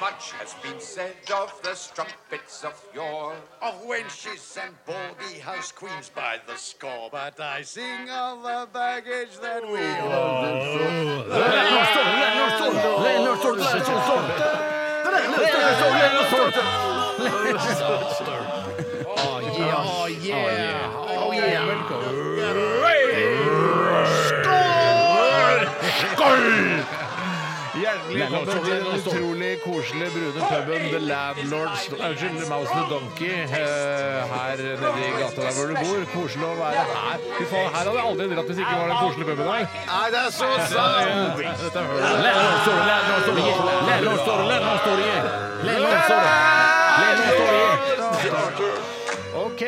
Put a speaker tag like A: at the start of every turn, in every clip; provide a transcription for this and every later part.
A: Much has been said of the strumpets of yore, of wenches and baldy house queens by the score. But I sing of the baggage that we all
B: Hjertelig velkommen til den utrolig koselige brune puben The Landlords Unnskyld, Mouse and the Donkey eh, her nede i gata der hvor du bor. Koselig å være her. Fy faen, her hadde jeg aldri dratt hvis ikke det var den koselige puben her. Nei, det er så sant! Dette er hølet. OK,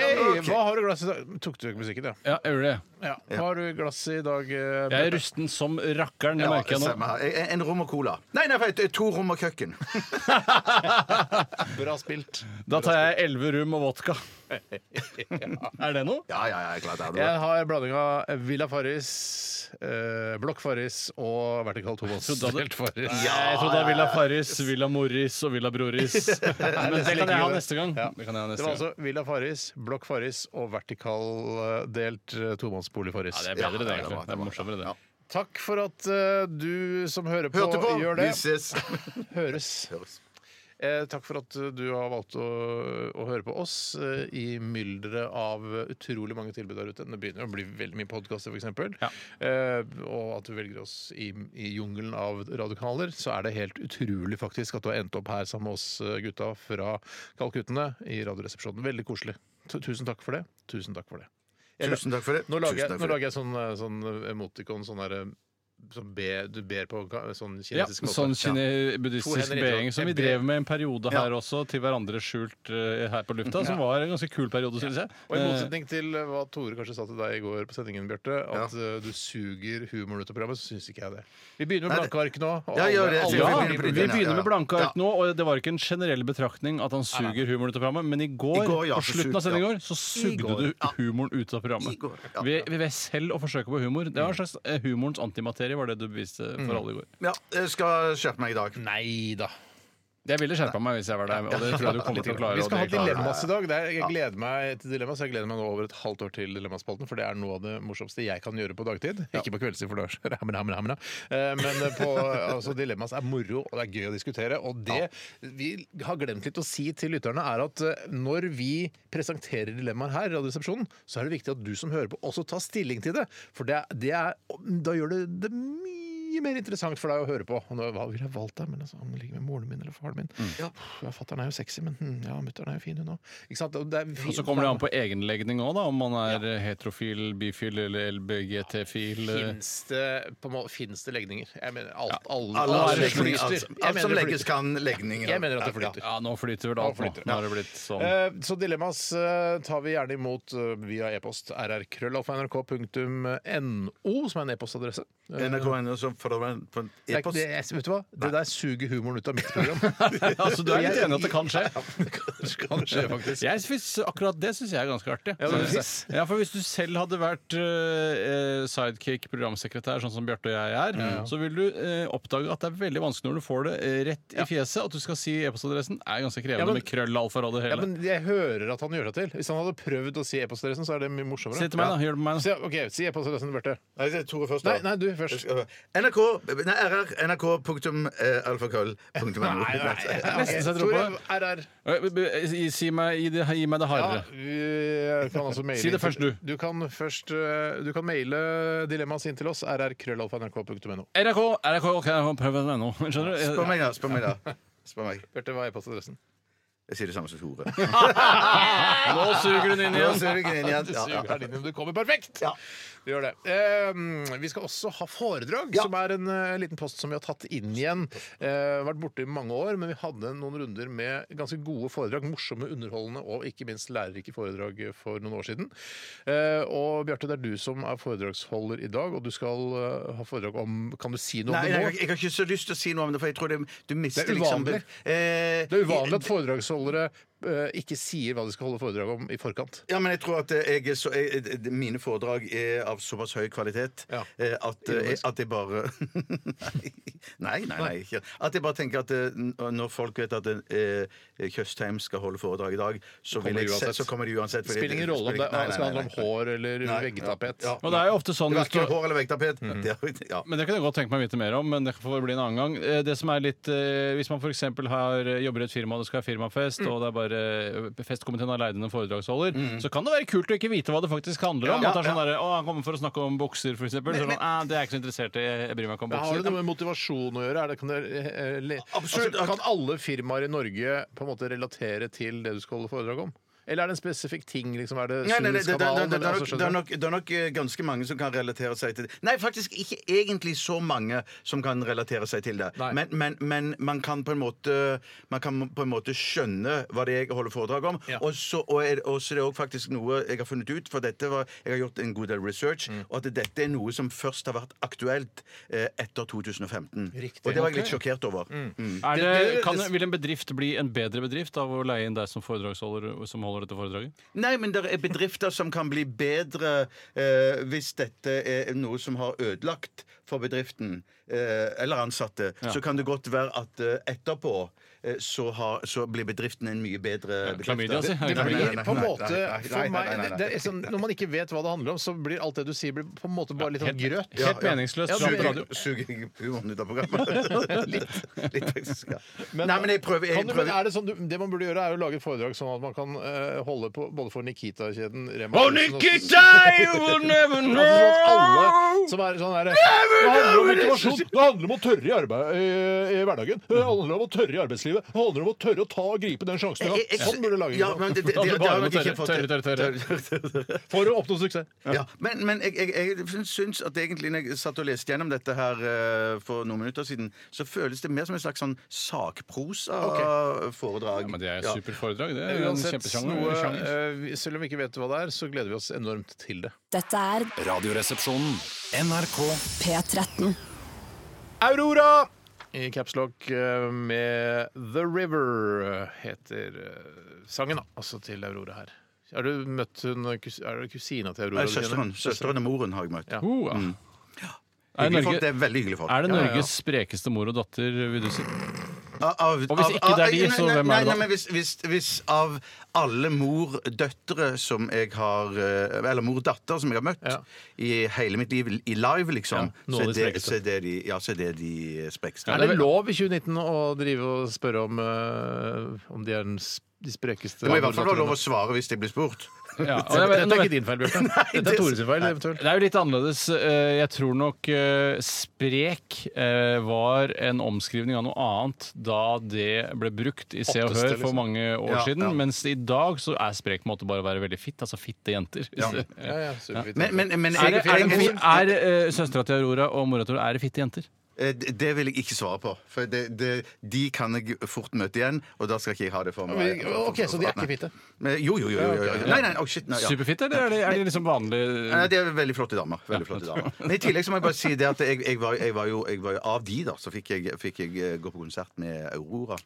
B: hva har du i glasset i dag? Tok du ikke musikken, ja?
C: Ja, jeg gjør det.
B: ja. Hva har du i glasset i dag? eh,
C: Jeg er rusten som rakkeren, det merker jeg nå.
D: Samme her. En- En rom og cola. Nei, nei, vent, to rom og kjøkken.
B: Bra spilt.
C: Da tar jeg elleve rum og vodka. Er det noe?
D: Ja, ja, ja, klart det er det.
B: Jeg har blanding av Villa Farris, eh, Blokk Farris og vertikal Thomas.
C: trodde du-
B: Helt Farris.
C: Jeg trodde det var Villa Farris, Villa Morris og Villa Broris. Men det kan jeg ha neste gang.
B: Ja.
C: Det kan jeg ha
B: Det
C: neste
B: var
C: gang.
B: altså Villa Farris, Blokk Farris og vertikaldelt eh, tomannsbolig Farris.
C: Ja, det er bedre, det.
D: Ja, det var-
C: egentlig. Det er morsommere, det.
B: Takk for at eh, du som hører på,
D: Hørte på!
B: gjør
D: Vi
B: det.
D: ses.
B: Høres.
D: Høres.
B: Eh, takk for at eh, du har valgt å, å høre på oss eh, i mylderet av utrolig mange tilbud der ute. Det begynner å bli veldig mye podkaster, f.eks.
C: Ja.
B: Eh, og at du velger oss i, i jungelen av radiokanaler, så er det helt utrolig faktisk at du har endt opp her sammen med oss eh, gutta fra Kalkuttene i Radioresepsjonen. Veldig koselig. Tu- Tusen takk for det. Tusen takk for det. Jeg-
D: Tusen takk for det.
B: Nå lager,
D: Tusen
B: jeg,
D: takk
B: nå
D: for det.
B: lager jeg sånn, eh, sånn emotikon, sånn derre som be, du ber på ka- sånn
C: Ja,
B: kinesisk måte.
C: sånn kine
B: To
C: buddhistisk
B: hender i
C: being
B: tråd.
C: som vi
B: Jeg ber-
C: drev med en periode her også, til hverandre skjult eh, her på lufta, som var en ganske kul periode, synes jeg.
B: Og i
C: Eh,
B: motsetning til hva Tore kanskje sa til deg i går på sendingen, Bjarte, at eh, du suger humoren ut av programmet, så syns ikke jeg det. Vi begynner med
D: Nei, det-
B: blanke ark nå. og
D: Ja,
B: alle-
D: gjør det.
B: alle-
D: Vi
C: Ja, vi
D: begynner på det, ja, ja,
C: begynner
D: ja.
C: med blanke ark
D: Ja.
C: nå, og det var ikke en generell betraktning at han suger humoren ut av programmet, men i går,
D: I går, ja,
C: på
D: så
C: slutten av
D: sugde-
C: sendingen i går,
D: ja.
C: så sugde
D: går,
C: du
D: ja.
C: humoren ut av
D: I
C: programmet.
D: går, ja.
C: Ved, ved selv å forsøke på humor. Det var en slags eh, humorens antimaterie, var det du beviste for
D: Mm.
C: alle i går.
D: Ja, jeg skal skjerpe meg i
B: Mm.
D: dag.
B: Nei da.
C: Jeg ville skjerpa meg hvis jeg var deg, og det tror jeg du kommer til å klare.
B: Vi skal
C: og
B: ha
C: det klarer du.
B: dilemmas i dag. Det er, jeg gleder meg til dilemmas. Jeg gleder meg nå over et halvt år til Dilemmaspalten, for det er noe av det morsomste jeg kan gjøre på dagtid. Ikke på kveldstid, for da er det hammer, hammer, hammer. Eh, Men på, altså, dilemmas er moro, og det er gøy å diskutere. Og det vi har glemt litt å si til lytterne, er at eh, når vi presenterer dilemmaer her, i Radioresepsjonen, så er det viktig at du som hører på, også tar stilling til det. For det, er- det er, da gjør det det mye mer interessant for deg å høre på. Og nå, hva ville jeg valgt der? Men altså, om det ligger med moren min eller faren min
C: Mm.
B: Uff, Ja, fatter'n er jo sexy, men hm, ja, mutter'n er jo fin, hun òg. Ikke sant? Og, det er
C: Og så kommer det an på egenlegning òg, om man er eh, heterofil, bifil eller LBGT-fil. eh.
B: Fins det, på en måte- finnes det legninger? Jeg mener alt, alle,
D: Alle
B: alle
D: alle
B: flyter.
D: legninger, alt,
B: Jeg
D: alt
B: mener
D: som
B: det
D: legges
B: flyter.
D: kan legninger.
B: Jeg mener at det flyter.
C: altså. Ja, nå flyter vel alt,
B: Nå
C: nå.
B: flyter det.
C: Nå har det blitt sånn.
B: Eh, Så dilemmas eh, tar vi gjerne imot eh, via e-post rrkrøllalfa.nrk.no, som er en e-postadresse. Eh,
D: NRK.no som får det på en
B: det er ikke-
D: e-post.
B: det, jeg- vet du hva? det der suger humoren ut av mitt program.
C: Altså, du er litt enig at det kan skje?
B: Kanskje, faktisk.
C: Jeg synes, akkurat det syns jeg er ganske artig.
B: Ja, det
C: Synes jeg.
B: synes
C: ja, for Hvis du selv hadde vært eh, eh, sidekick, programsekretær, sånn som Bjarte og jeg er,
B: Mm.
C: så vil du eh, oppdage at det er veldig vanskelig når du får det eh, rett i fjeset. At du skal si e-postadressen er ganske krevende
B: Ja, men-
C: med krøll, alfaråd og det
B: Ja,
C: hele.
B: men jeg hører at han gjør seg til. Hvis han hadde prøvd å si e-postadressen, så er det mye morsommere.
C: Si det til meg, da. Gjør det med meg.
B: Si, ok, si e-postadressen, Bjarte.
D: Nei, det er Tore først, da.
B: Nei, nei, du først.
D: NRK, nei, rr, eh, nrk.alfakrøll.no.
C: Nesten så jeg tror på
B: Tore,
C: det.
B: RR.
C: da. Eh, eh, Si, si meg, gi, det, gi meg det
B: Ja,
C: hardere.
B: vi kan altså maile
C: Si det
B: inn til-
C: først, du.
B: Du kan, først, eh, du kan maile dilemmaet inn til oss. rrkrøllalfa.nrk.no.
C: RK, RK, ok, jeg prøver det ennå. Skjønner du?
D: Spør meg, da. Spør meg, da. Spør meg.
B: Bjarte, hva er e-postadressen?
D: Jeg sier det samme som Tore.
C: Nå suger hun inn
D: Nå
C: igjen!
D: ser vi ikke inn igjen.
B: Du
D: Ja, ja.
B: suger den inn, men du kommer perfekt! Du gjør det. Eh, vi skal også ha foredrag, som er en eh, liten post som vi har tatt inn igjen. Uh, vært borte i mange år, men vi hadde noen runder med ganske gode foredrag. Morsomme, underholdende og ikke minst lærerike foredrag for noen år siden. Eh, og Bjarte, det er du som er foredragsholder i dag, og du skal eh, ha foredrag om Kan du si noe om
D: Nei,
B: det
D: jeg,
B: nå?
D: har- jeg har ikke så lyst til å si noe om det, for jeg tror det, du mister
B: Det er uvanlig.
D: liksom eh,
B: Det er uvanlig at foredragsholdere eh, ikke sier hva de skal holde foredrag om i forkant.
D: Ja, men jeg tror at eh, jeg, er så, jeg, jeg- mine foredrag er av såpass høy kvalitet
B: Ja.
D: eh, at, eh, at jeg bare Nei, nei, nei. ikke. At jeg bare tenker at eh, n- når folk vet at eh, Tjøstheim skal holde foredrag i dag, så,
B: Kommer
D: vil jeg,
B: de
D: se-
B: uansett.
D: så kommer de uansett.
B: Det spiller ingen rolle om det skal handle om hår eller veggtapet.
D: Ja.
C: Og det er jo ofte sånn
D: Det
C: hvis
D: var
C: du
D: ikke hår eller veggtapet.
B: Mhm.
D: Det er- Ja.
C: Men Det kan jeg godt tenke meg å vite mer om, men det får bli en annen gang. Eh, Det som er litt, eh, Hvis man for eksempel har eh, jobber i et firma og det skal være firmafest, og det er bare eh, festkomiteen aleine foredragsholder, så kan det være kult å ikke vite hva det faktisk handler om.
D: Ja,
C: at det er sånn
D: ja.
C: der, å, Han kommer for å snakke om bukser, f.eks. Så er det sånn, «Eh, det er jeg ikke så interessert i. Jeg bryr meg ikke om
B: Men har
C: bukser.
B: det noe med motivasjon å gjøre? Er det, kan, det, eh, le-
D: Absolutt.
B: Altså, kan alle firmaer i Norge på en måte relatere til det du skal holde foredrag om? Eller er det en spesifikk ting? Liksom, er det
D: Nei, nei, nei, det, det, det,
B: Suezkanalen?
D: det,
B: eller,
D: er nok- det,
B: altså,
D: er
B: skjønner du?
D: nok, det er nok eh, ganske mange som kan relatere seg til det. Nei, faktisk ikke egentlig så mange som kan relatere seg til det.
B: Nei.
D: Men, men, men man kan på en måte Man kan på en måte skjønne hva det er jeg holder foredrag om.
B: Ja.
D: Og så og er, og så er det også faktisk noe jeg har funnet ut, for dette var, jeg har gjort en god del research,
B: Mm.
D: og at dette er noe som først har vært aktuelt eh, etter 2015.
B: Riktig.
D: Og det var jeg litt
B: Ok.
D: sjokkert over. Mm.
C: Er det,
D: Det- det-
C: kan,
D: det-
C: vil en bedrift bli en bedre bedrift av å leie inn deg som foredragsholder som holder dette foredraget?
D: Nei, men det er bedrifter som kan bli bedre eh, hvis dette er noe som har ødelagt for bedriften eh, eller ansatte. Så kan det godt være at eh, etterpå eh, så, har, så blir bedriften en mye bedre bedrift.
C: klamydia, si.
B: Det
C: Nei, nei,
B: blir
C: nei,
B: på en måte
D: nei, nei,
B: for
D: nei,
B: meg
D: nei, nei,
B: det- det er sånn, Når man ikke vet hva det handler om, så blir alt det du sier, blir på en måte bare litt sånn grøt.
D: Ja,
C: Helt
D: ja.
C: meningsløst.
B: Ja,
C: fram
B: det-
C: på radio.
D: Suger- Suger jeg humoren ut av programmet? litt, litt faktisk, ja.
B: Men-
D: Nei, men jeg prøver.
B: Kan
D: Jeg
B: du, men
D: prøver.
B: er det, sånn, du- det man burde gjøre, er å lage et foredrag sånn at man kan eh, holde på både for Nikita-kjeden Rema
C: Oh,
B: 1000 og-
C: Nikita, you will never
B: Ja, men sånn
C: know!
B: at alle som er sånn der, Det handler om motivasjon. Det handler om å tørre i, arbeid, i, i hverdagen. Det handler om å tørre i arbeidslivet. Det handler om å tørre å ta og gripe den sjansen du
D: Jeg- jeg-
B: har. Sånn burde du lage
D: ja,
B: det.
D: men det, det, det,
C: Alle
D: det,
C: bare
D: har
C: må
D: jeg ikke
C: tørre,
D: fått
C: tørre, tørre, tørre.
B: For å oppnå suksess.
D: Ja, men, men jeg, jeg, jeg syns- syns at egentlig når jeg satt og leste gjennom dette her eh, for noen minutter siden, så føles det mer som en slags sånn sakprosa-foredrag.
C: Ja, men det er
D: Ja.
C: et supert foredrag. Det er jo en
B: Uansett, noe,
C: kjempesjanger.
B: eh, selv om vi ikke vet hva det er, så gleder vi oss enormt til det.
E: Dette er
F: Radioresepsjonen.
G: NRK
E: P13.
B: Aurora! I caps lock eh, med The River eh, heter eh, sangen, da. Altså til Aurora her. Har du møtt hun kus- Er det kusina til Aurora?
D: Nei,
B: du kjenner?
D: Søsteren søsteren og moren har jeg møtt.
B: Ja.
C: Oh, ja. Er
D: Hyggelige folk,
C: Norge,
D: det er veldig hyggelige folk.
C: Er det
B: Ja, ja, ja.
C: Norges sprekeste mor og datter, vil du si?
D: Av-
C: Og
D: av-
C: hvis
D: av-
C: ikke det er
D: av-
C: de, så
D: nei,
C: hvem er det
D: nei,
C: da?
D: Nei, men hvis, hvis, hvis av alle mordøtre som jeg har eh, Eller mordatter som jeg har møtt
B: Ja.
D: i hele mitt liv, i live, liksom,
B: Ja, noe
D: så, er
B: av de
D: det,
B: sprekeste.
D: så er det de, ja, så er det de sprekeste.
B: Er det lov i 2019 å drive og spørre om, eh, om de er den, s- de sprekeste
D: Det må i hvert fall være lov å svare hvis de blir spurt.
C: Ja, og jeg
B: Dette
C: vet-
B: er
C: nå
B: ikke
C: vet-
B: din feil, Bjarte. Dette er
D: det-
B: Tore sin feil, eventuelt.
C: Det er jo litt annerledes. Eh, Jeg tror nok eh, sprek eh, var en omskrivning av noe annet da det ble brukt i Se og
B: Ofteste,
C: Hør for
B: liksom.
C: mange år
D: Ja,
C: siden.
D: ja.
C: Mens i dag så er sprek på en måte bare å være veldig fitt. Altså fitte jenter.
D: Ja.
C: Hvis-
B: Ja, ja, superfint.
D: Men, men, men
C: Er, det-
D: jeg-
C: er, det-
D: jeg-
C: er, eh, søstera til Aurora og mora til Aurora er det fitte jenter?
D: Eh, Det det vil jeg ikke svare på. For det, det, de kan jeg fort møte igjen, og da skal ikke jeg ha det for meg.
B: Men, OK, så de er ikke fitte?
D: Men- Jo, jo, jo. jo, jo, jo. Nei, nei, oh, shit, nei, ja.
C: Superfitte, eller er det, er det liksom vanlig
D: Nei, det er veldig flotte damer. Veldig flotte damer. Men I tillegg så må jeg bare si det at jeg, jeg, var, jeg, var, jo, jeg var jo av de, da. Så fikk jeg, fikk jeg eh, gå på konsert med Aurora.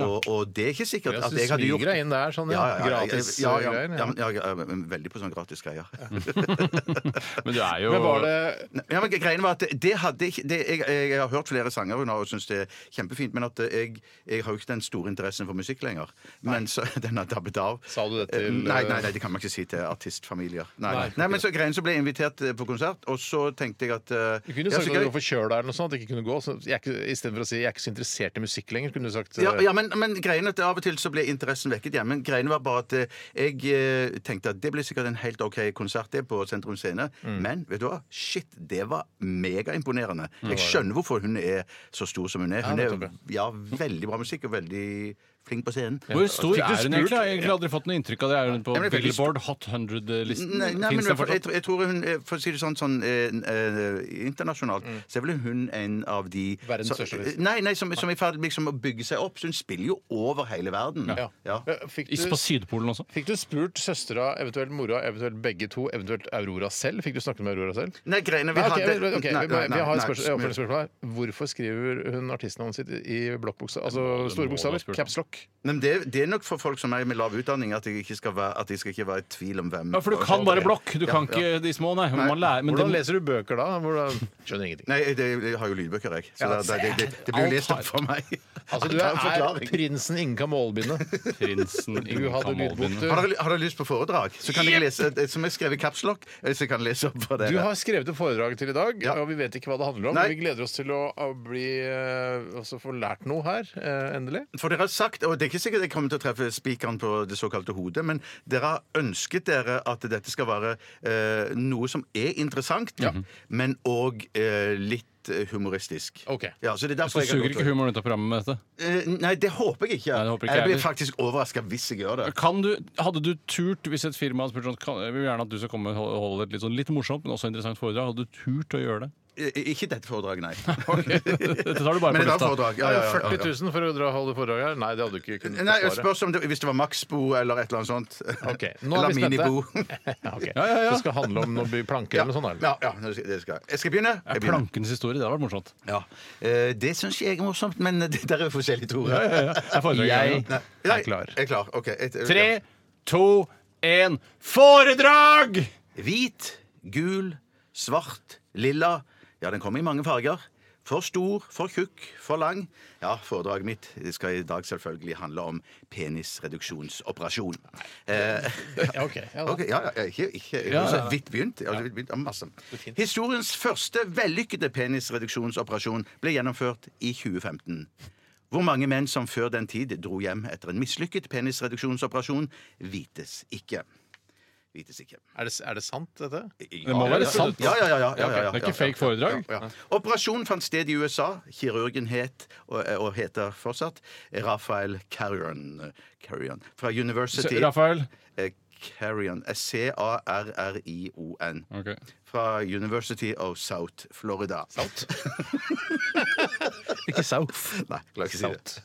D: Og, og det er ikke sikkert at
B: Jeg
D: jeg hadde
B: smyger
D: gjort
B: deg inn der, sånn
D: ja, ja, ja, ja,
B: gratis eh,
D: ja, ja,
B: greier.
D: ja, men- ja, ja, men veldig på sånn gratis greier.
C: Men du er jo
B: Men var det
D: Ja, men greien var at det hadde ikke det, jeg, jeg har hørt flere sanger hun har, og syns det er kjempefint, men at jeg, jeg har jo ikke den store interessen for musikk lenger. Men så, den har dabbet av.
B: Sa du det til,
D: Eh, Nei, nei, nei, det kan man ikke si til artistfamilier. Nei, nei, men så greien så ble jeg invitert eh, på konsert, og så tenkte jeg at eh,
B: Du kunne
D: ja,
B: sagt
D: så
B: at du
D: gøy-
B: var forkjøla eller noe sånt. at du Ikke kunne gå. Så jeg er ikke, istedenfor å si 'jeg er ikke så interessert i musikk lenger', kunne du sagt eh,
D: ja, ja, men, men greien er at Av og til så ble interessen vekket igjen. Men greien var bare at eh, jeg eh, tenkte at det ble sikkert en helt OK konsert det på Sentrum Scene.
B: Mm.
D: Men vet du hva? shit, det var megaimponerende. Jeg skjønner hvorfor hun er så stor som hun er. Hun
B: Ja,
D: er
B: nettopp,
D: ja, veldig bra musikk og veldig flink på scenen.
C: Hvor stor
B: Fikk du
C: er hun egentlig?
B: spurt?
C: Jeg har egentlig aldri fått noe inntrykk av det. Er hun på
D: Ja, men det er veldig
C: Billboard Hot 100-listen?
D: Nei, nei men
C: Finnes det
D: jeg, jeg,
C: fortsatt?
D: tror- jeg tror hun eh, For å si det sånn, sånn eh, eh, internasjonalt, så er vel hun en av de
B: Mm. Verdens
D: så-
B: største artist.
D: Nei, nei som, som er i ferd med liksom, å bygge seg opp. Så hun spiller jo over hele verden.
B: Ja. Eh, Fikk
C: Is-
B: du,
C: På Sydpolen også?
B: fikk du spurt søstera, eventuelt mora, eventuelt begge to, eventuelt Aurora selv? Fikk du snakket med Aurora selv?
D: Nei, greiene vi
B: Nei, ok,
D: hadde
B: men- ok,
D: Nei,
B: vi-
D: nei,
B: vi har
D: nei,
B: et spørsmål, oppfølgende spørsmål her. Hvorfor skriver hun artistnavnet sitt i blokkbuksa? Altså
C: det må
B: store
C: du ha
B: bokstaver?
C: spurt om.
B: Caps lock?
D: Men det, det er nok for folk som meg med lav utdanning at jeg ikke skal være, at jeg skal ikke være i tvil om hvem
C: Ja, for du kan bare blokk. Du
D: Ja,
C: kan
D: ja.
C: ikke de små, nei. Men man lærer, men
B: Hvordan
C: det,
B: leser du bøker da? Hvordan... Skjønner ingenting.
D: Nei, det, jeg har jo lydbøker, jeg. Så det, det, det, det blir jo
C: Alt
D: lest opp
C: har-
D: for meg.
B: Altså, du
D: Alt har en
B: er,
D: forklaring.
B: prinsen Inka Målbinde.
C: prinsen
B: Du hadde lydbok, du.
D: har dere, har dere lyst på foredrag, så kan jeg lese eh, Som jeg skrev i Capslock, så jeg kan lese opp for
B: Du
D: dere.
B: har skrevet et foredrag til i dag,
D: Ja.
B: og vi vet ikke hva det handler om.
D: Nei.
B: Men vi gleder oss til å å bli, eh, altså få lært noe her, eh, endelig.
D: For dere har sagt, og det er ikke sikkert jeg kommer til å treffe spikeren på det såkalte hodet, men dere har ønsket dere at dette skal være eh, noe som er interessant, men òg eh, litt eh, humoristisk.
B: Ok.
D: Ja, så det er
C: Så
D: derfor jeg har
C: suger
D: gått-
C: ikke humoren ut av programmet med dette.
D: Eh, nei, det håper jeg ikke.
C: Nei, det håper ikke
D: jeg
C: jeg
D: blir
C: heller.
D: faktisk overraska hvis jeg gjør det.
C: Kan du, hadde du turt, hvis et firma hadde spurt sånn kan, Vi vil gjerne at du skal komme og hol- holde et litt, sånn, litt morsomt, men også interessant foredrag. Hadde du turt å gjøre det?
D: Eh, Ikke dette foredraget, nei.
C: Dette tar du bare på
D: Men et annet
C: lufta.
D: foredrag. Ja,
B: Ja,
D: ja, ja,
B: 40
D: ja,
B: 000 for å dra, holde foredrag her? Nei, det hadde du ikke kunnet
D: ja. Nei, jeg
B: forsvare.
D: spørs om det, hvis det var Maxbo eller et eller annet sånt.
B: Ok, nå er
D: Eller
B: vi spente.
D: Minibo.
B: Ja, ok.
C: ja, ja.
B: Det skal handle om noen by- planker
C: sånn
B: eller noe sånt?
D: Ja, ja,
B: Eller?
D: nå skal- det skal jeg. Jeg skal begynne. Jeg begynner.
C: Plankens historie, det hadde vært morsomt.
D: Ja. Eh, Det syns jeg er morsomt, men det der er jo forskjellige Tore.
C: Jeg foredraget
B: Jeg-
C: igjen, ja.
D: Nei, nei,
B: Jeg er klar.
D: Jeg er klar. Ok, et-
C: Tre, to, én foredrag!
D: ja. Hvit, gul, svart, lilla. Ja, den kommer i mange farger. For stor, for tjukk, for lang. Ja, foredraget mitt skal i dag selvfølgelig handle om penisreduksjonsoperasjon. Eh,
B: Ja, ok. Ja, da.
D: Ok, ja, ja, ikke, ikke
C: ja,
D: altså,
C: ja.
D: vidt begynt. Altså, vidt begynt ja, masse. Historiens første vellykkede penisreduksjonsoperasjon ble gjennomført i 2015. Hvor mange menn som før den tid dro hjem etter en mislykket penisreduksjonsoperasjon, vites ikke. Vites ikke.
B: Er, det, er det sant, dette?
C: Det må være sant.
D: Ja, ja, ja. ja, ja, ja, ja,
C: Det er
D: ja,
C: ikke fake foredrag.
D: ja. Operasjonen fant sted i USA. Kirurgen het, og, og heter fortsatt, Raphael Carrion, Carrion fra University
C: Rafael.
D: Eh, Carrion. Eh, C-a-r-r-i-o-n.
C: Ok.
D: Fra University of South Florida.
B: Ikke sauf.
D: Nei, jeg klarer ikke å si det.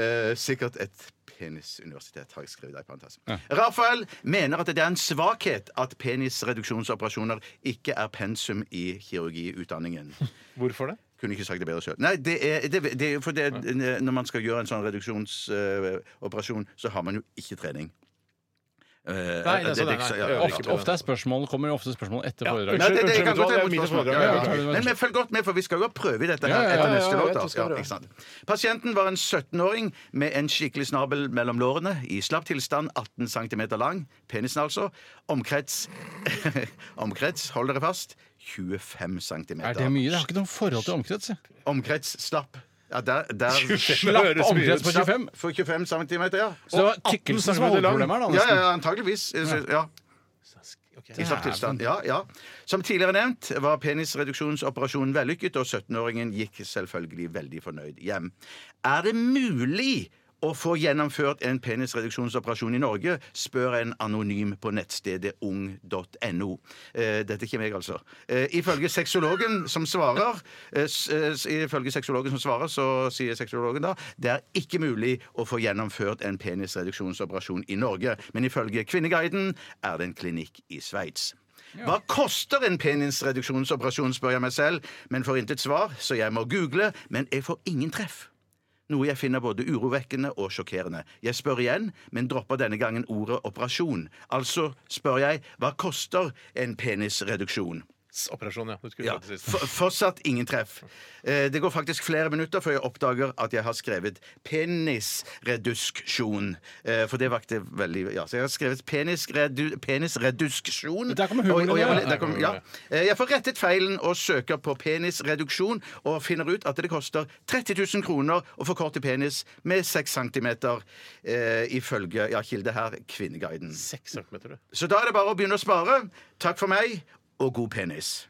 D: Eh, sikkert et penisuniversitet, har jeg skrevet der i parentes. Rafael mener at det er en svakhet at penisreduksjonsoperasjoner ikke er pensum i kirurgiutdanningen.
B: Hvorfor det?
D: Kunne ikke sagt det bedre sjøl. Nei, det er, det, det er for det, når man skal gjøre en sånn reduksjonsoperasjon, så har man jo ikke trening. Eh,
B: Nei, det er sånn,
D: ikke
B: nei,
D: så-
B: nei, jeg øver ikke
C: Ofte, ofte er spørsmål, kommer jo ofte spørsmål etter
D: Nei,
C: foredrag.
D: det, det,
B: Unnskyld,
D: jeg kan
B: vet du hva,
D: godt ta
B: det er
D: imot
B: mine
D: spørsmål.
B: foredrag.
D: Ja,
C: Ja, ja,
D: ja.
C: ja.
D: Men men følg godt med, for vi skal jo ha prøve i dette her
C: Ja, ja, ja,
D: etter
C: ja,
D: neste
B: jeg
D: låt.
B: vet,
D: da.
B: jeg skal
D: Ja,
B: prøve.
D: ikke sant? Pasienten var en 17-åring med en skikkelig snabel mellom lårene, i slapp tilstand, 18 cm lang, penisen altså, omkrets Omkrets, hold dere fast, 25 cm.
C: Er det mye? Jeg har ikke noe forhold til omkrets. jeg.
D: Omkrets slapp. Ja, der, der
C: Slapp omkrets på 25.
D: For 25 cm, ja.
C: Så det var tykkelsen som var hovedproblemet her, da.
D: Ja,
C: nesten.
D: ja, antageligvis. Eh, så- Ja. I slapp tilstand. Ja, ja. Som tidligere nevnt var penisreduksjonsoperasjonen vellykket, og 17-åringen gikk selvfølgelig veldig fornøyd hjem. Er det mulig å få gjennomført en penisreduksjonsoperasjon i Norge, spør en anonym på nettstedet ung.no. Eh, Dette er ikke meg, altså. Eh, Ifølge sexologen som svarer, eh, s- eh, s- ifølge sexologen som svarer, så sier sexologen da det er ikke mulig å få gjennomført en penisreduksjonsoperasjon i Norge, men ifølge Kvinneguiden er det en klinikk i Sveits. Hva koster en penisreduksjonsoperasjon, spør jeg meg selv, men får intet svar, så jeg må google, men jeg får ingen treff. Noe jeg finner både urovekkende og sjokkerende. Jeg spør igjen, men dropper denne gangen ordet operasjon. Altså spør jeg hva koster en penisreduksjon?
B: Operasjon, ja. Du skulle
D: Ja,
B: ta det sist.
D: for, fortsatt ingen treff. Eh, det går faktisk flere minutter før jeg oppdager at jeg har skrevet penisredusksjon. Eh, for det vakte veldig Ja, så jeg har skrevet penisredu, penisredusksjon.
C: Der kommer humoren
D: Og- og jeg-
C: inn, ja.
D: der kom- ja. Eh, Jeg får rettet feilen og søker på penisreduksjon, og finner ut at det koster 30 000 kroner å forkorte penis med 6 cm, eh, ifølge ja, kilde her Kvinneguiden.
B: Seks centimeter, du.
D: Så da er det bare å begynne å spare. Takk for meg, og god penis.